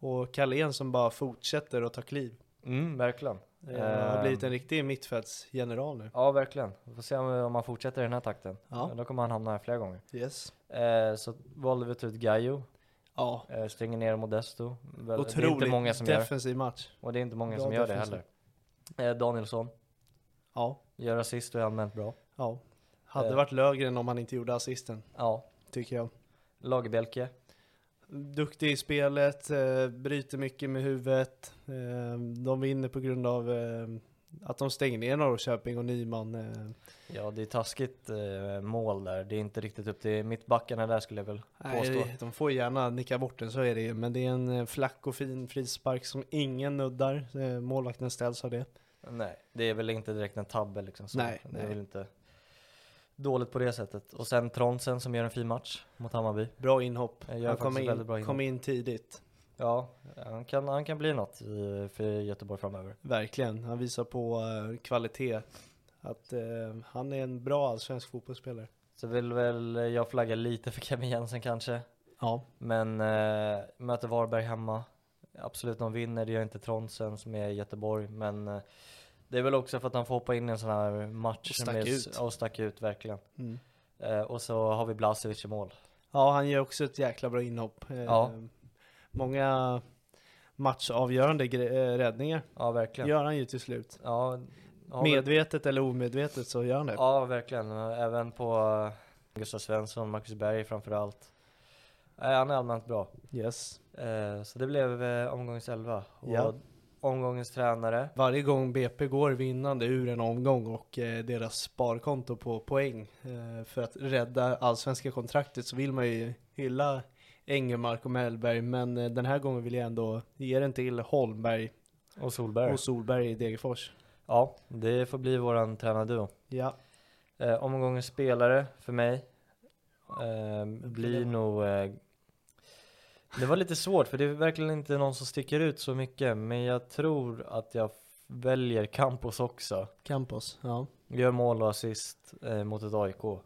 S1: Och Carlén som bara fortsätter att ta kliv.
S2: mm, verkligen.
S1: Eh, har
S2: Ehm,
S1: blivit en riktig mittfältsgeneral nu.
S2: Ja, verkligen. Vi får se om, om han fortsätter i den här takten.
S1: Ja.
S2: Då kommer han hamna här flera gånger.
S1: Yes.
S2: Eh, så valde vi att ta ut Gaio,
S1: Ja,
S2: eh, stänger ner Modesto. Väl- det är
S1: otroligt
S2: inte många som gör,
S1: defensiv match.
S2: och det är inte många
S1: Bra
S2: som gör det
S1: defensiv.
S2: heller. Eh, Danielsson,
S1: Ja,
S2: gör assist och är allmänt bra.
S1: ja. Hade
S2: Eh.
S1: varit Lögren om han inte gjorde assisten,
S2: Ja.
S1: tycker jag.
S2: Lagerbjälke,
S1: Duktig i spelet, eh, bryter mycket med huvudet. Eh, de vinner på grund av eh, att de stänger ner Norrköping och Nyman. Eh,
S2: ja det är taskigt eh, mål där. Det är inte riktigt upp till mittbackarna där skulle jag väl påstå.
S1: Nej, de får gärna nicka bort den, så är det ju. Men det är en eh, flack och fin frispark som ingen nuddar. Eh, Målvakten ställs av det.
S2: Nej, det är väl inte direkt en tabbe liksom. Så
S1: Nej,
S2: det är
S1: nej.
S2: väl inte dåligt på det sättet. Och sen Tronsen som gör en fin match mot Hammarby.
S1: Bra inhopp.
S2: Jag gör
S1: Han
S2: faktiskt
S1: kom in,
S2: väldigt bra inhopp.
S1: kom in tidigt.
S2: Ja, han kan, han kan bli något i, för Göteborg framöver.
S1: Verkligen. Han visar på eh, kvalitet. Att eh, han är en bra allsvensk fotbollsspelare.
S2: Så vill väl jag flagga lite för Kevin Jensen kanske.
S1: Ja,
S2: Men eh, möter Varberg hemma. Absolut, de vinner. Det gör inte Tronsen som är i Göteborg. Men eh, det är väl också för att han får hoppa in i en sån här match.
S1: Och
S2: som
S1: stack
S2: är s-
S1: ut.
S2: Ja, Och stack ut, verkligen.
S1: Mm.
S2: Eh, och så har vi Blasevic i mål.
S1: Ja, han gör också ett jäkla bra inhopp. Eh,
S2: Ja.
S1: Många matchavgörande gre- eh, räddningar
S2: Ja, verkligen.
S1: gör han ju till slut.
S2: Ja, har vi-
S1: Medvetet eller omedvetet så gör han det.
S2: Ja, verkligen. Även på eh, Gustav Svensson, Marcus Berg framförallt. Eh, han är allmänt bra.
S1: Yes.
S2: Eh, så det blev eh, omgångens elva. Och
S1: Ja.
S2: omgångens tränare.
S1: Varje gång BP går vinnande ur en omgång och eh, deras sparkonto på poäng eh, för att rädda allsvenska kontraktet så vill man ju hylla Engelmark och Mellberg men eh, den här gången vill jag ändå ge den till Holmberg
S2: Och Solberg.
S1: och Solberg i Degerfors.
S2: Ja, det får bli våran tränarduo.
S1: Ja,
S2: Eh, omgångens spelare för mig eh, blir nog... Eh, det var lite svårt för det är verkligen inte någon som sticker ut så mycket men jag tror att jag f- väljer Campos också.
S1: Campos. Ja.
S2: Gör mål och assist eh, mot ett AIK.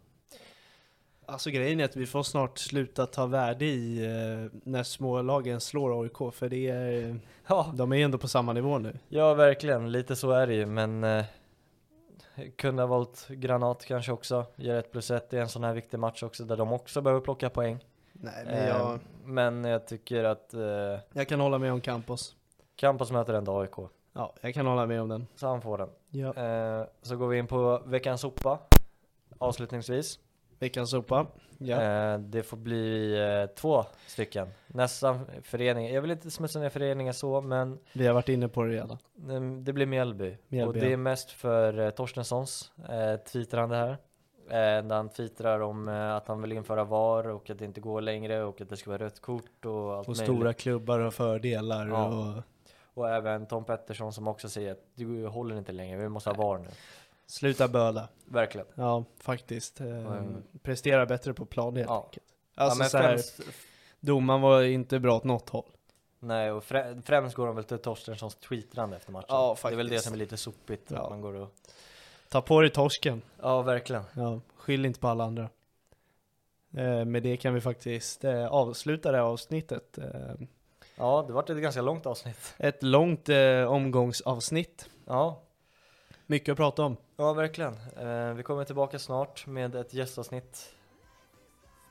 S1: Alltså grejen är att vi får snart sluta ta värde i eh, när smålagen slår AIK, för det är,
S2: Ja,
S1: de är ju ändå på samma nivå nu.
S2: ja verkligen. Lite så är det ju, men eh, kunde ha valt Granat kanske också. Ger 1 plus 1 i en sån här viktig match också, där de också behöver plocka poäng.
S1: Nej, men jag,
S2: Eh, men jag tycker att eh,
S1: jag kan hålla med om Campos.
S2: Campos möter ändå AIK,
S1: Ja, jag kan hålla med om den.
S2: så han får den.
S1: Ja.
S2: Eh, så går vi in på veckans sopa, avslutningsvis.
S1: Veckans sopa. Ja.
S2: Eh, det får bli eh, två stycken. Nästan förening. Jag vill inte smutsa ner föreningar så, men
S1: Vi har varit inne på det redan.
S2: eh, det blir Mjällby.
S1: Mjällby,
S2: Och det
S1: ja.
S2: är mest för eh, Torstenssons eh, tweetrande här. Eh, där han twittrar om eh, att han vill införa VAR och att det inte går längre och att det ska vara rött kort och allt
S1: Och
S2: möjligt.
S1: stora klubbar har fördelar
S2: Ja.
S1: och
S2: Och även Tom Pettersson som också säger att du håller inte längre, vi måste ha VAR nu.
S1: sluta böla.
S2: Verkligen.
S1: Ja, faktiskt. Eh,
S2: Mm.
S1: Prestera bättre på plan helt
S2: Ja.
S1: enkelt. Alltså
S2: ja, men
S1: så här,
S2: främst,
S1: domaren var inte bra åt något håll.
S2: Nej, och frä, främst går de väl till Torstenssons tweetrande efter matchen.
S1: Ja,
S2: det är väl det
S1: faktiskt.
S2: som är lite sopigt.
S1: Ja.
S2: Att man går och...
S1: Ta på dig torsken.
S2: Ja, verkligen.
S1: Ja, skyll inte på alla andra. Eh, med det kan vi faktiskt eh, avsluta det här avsnittet. Eh,
S2: Ja, det vart ett ganska långt avsnitt.
S1: ett långt eh, omgångsavsnitt.
S2: Ja,
S1: Mycket att prata om.
S2: ja verkligen. Eh, vi kommer tillbaka snart med ett gästavsnitt.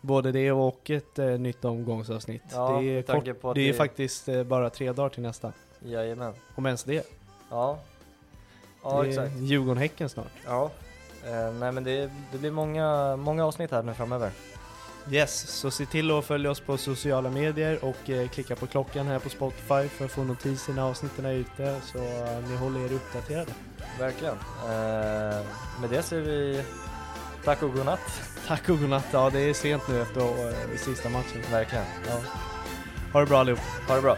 S1: Både det och ett eh, nytt omgångsavsnitt.
S2: Ja,
S3: er
S1: det är,
S2: med tanke
S1: kort,
S2: på att
S1: det är
S2: det-
S1: faktiskt eh, bara tre dagar till nästa.
S2: Jajamän.
S1: Om ens det.
S2: Ja, ja
S1: det är
S2: exakt.
S1: Djurgården-Häcken snart.
S2: Ja. Eh, nej, men det, det blir många, många avsnitt här nu framöver.
S1: Yes, så se till att följa oss på sociala medier och eh, klicka på klockan här på Spotify för att få notiser när avsnitten är ute så eh, ni håller er uppdaterade.
S2: Verkligen. Eh, med det säger vi tack och godnatt.
S1: Tack och godnatt, ja det är sent nu efter eh, sista matchen.
S2: Verkligen.
S1: Ja. Ha det bra allihop.
S2: Ha det bra.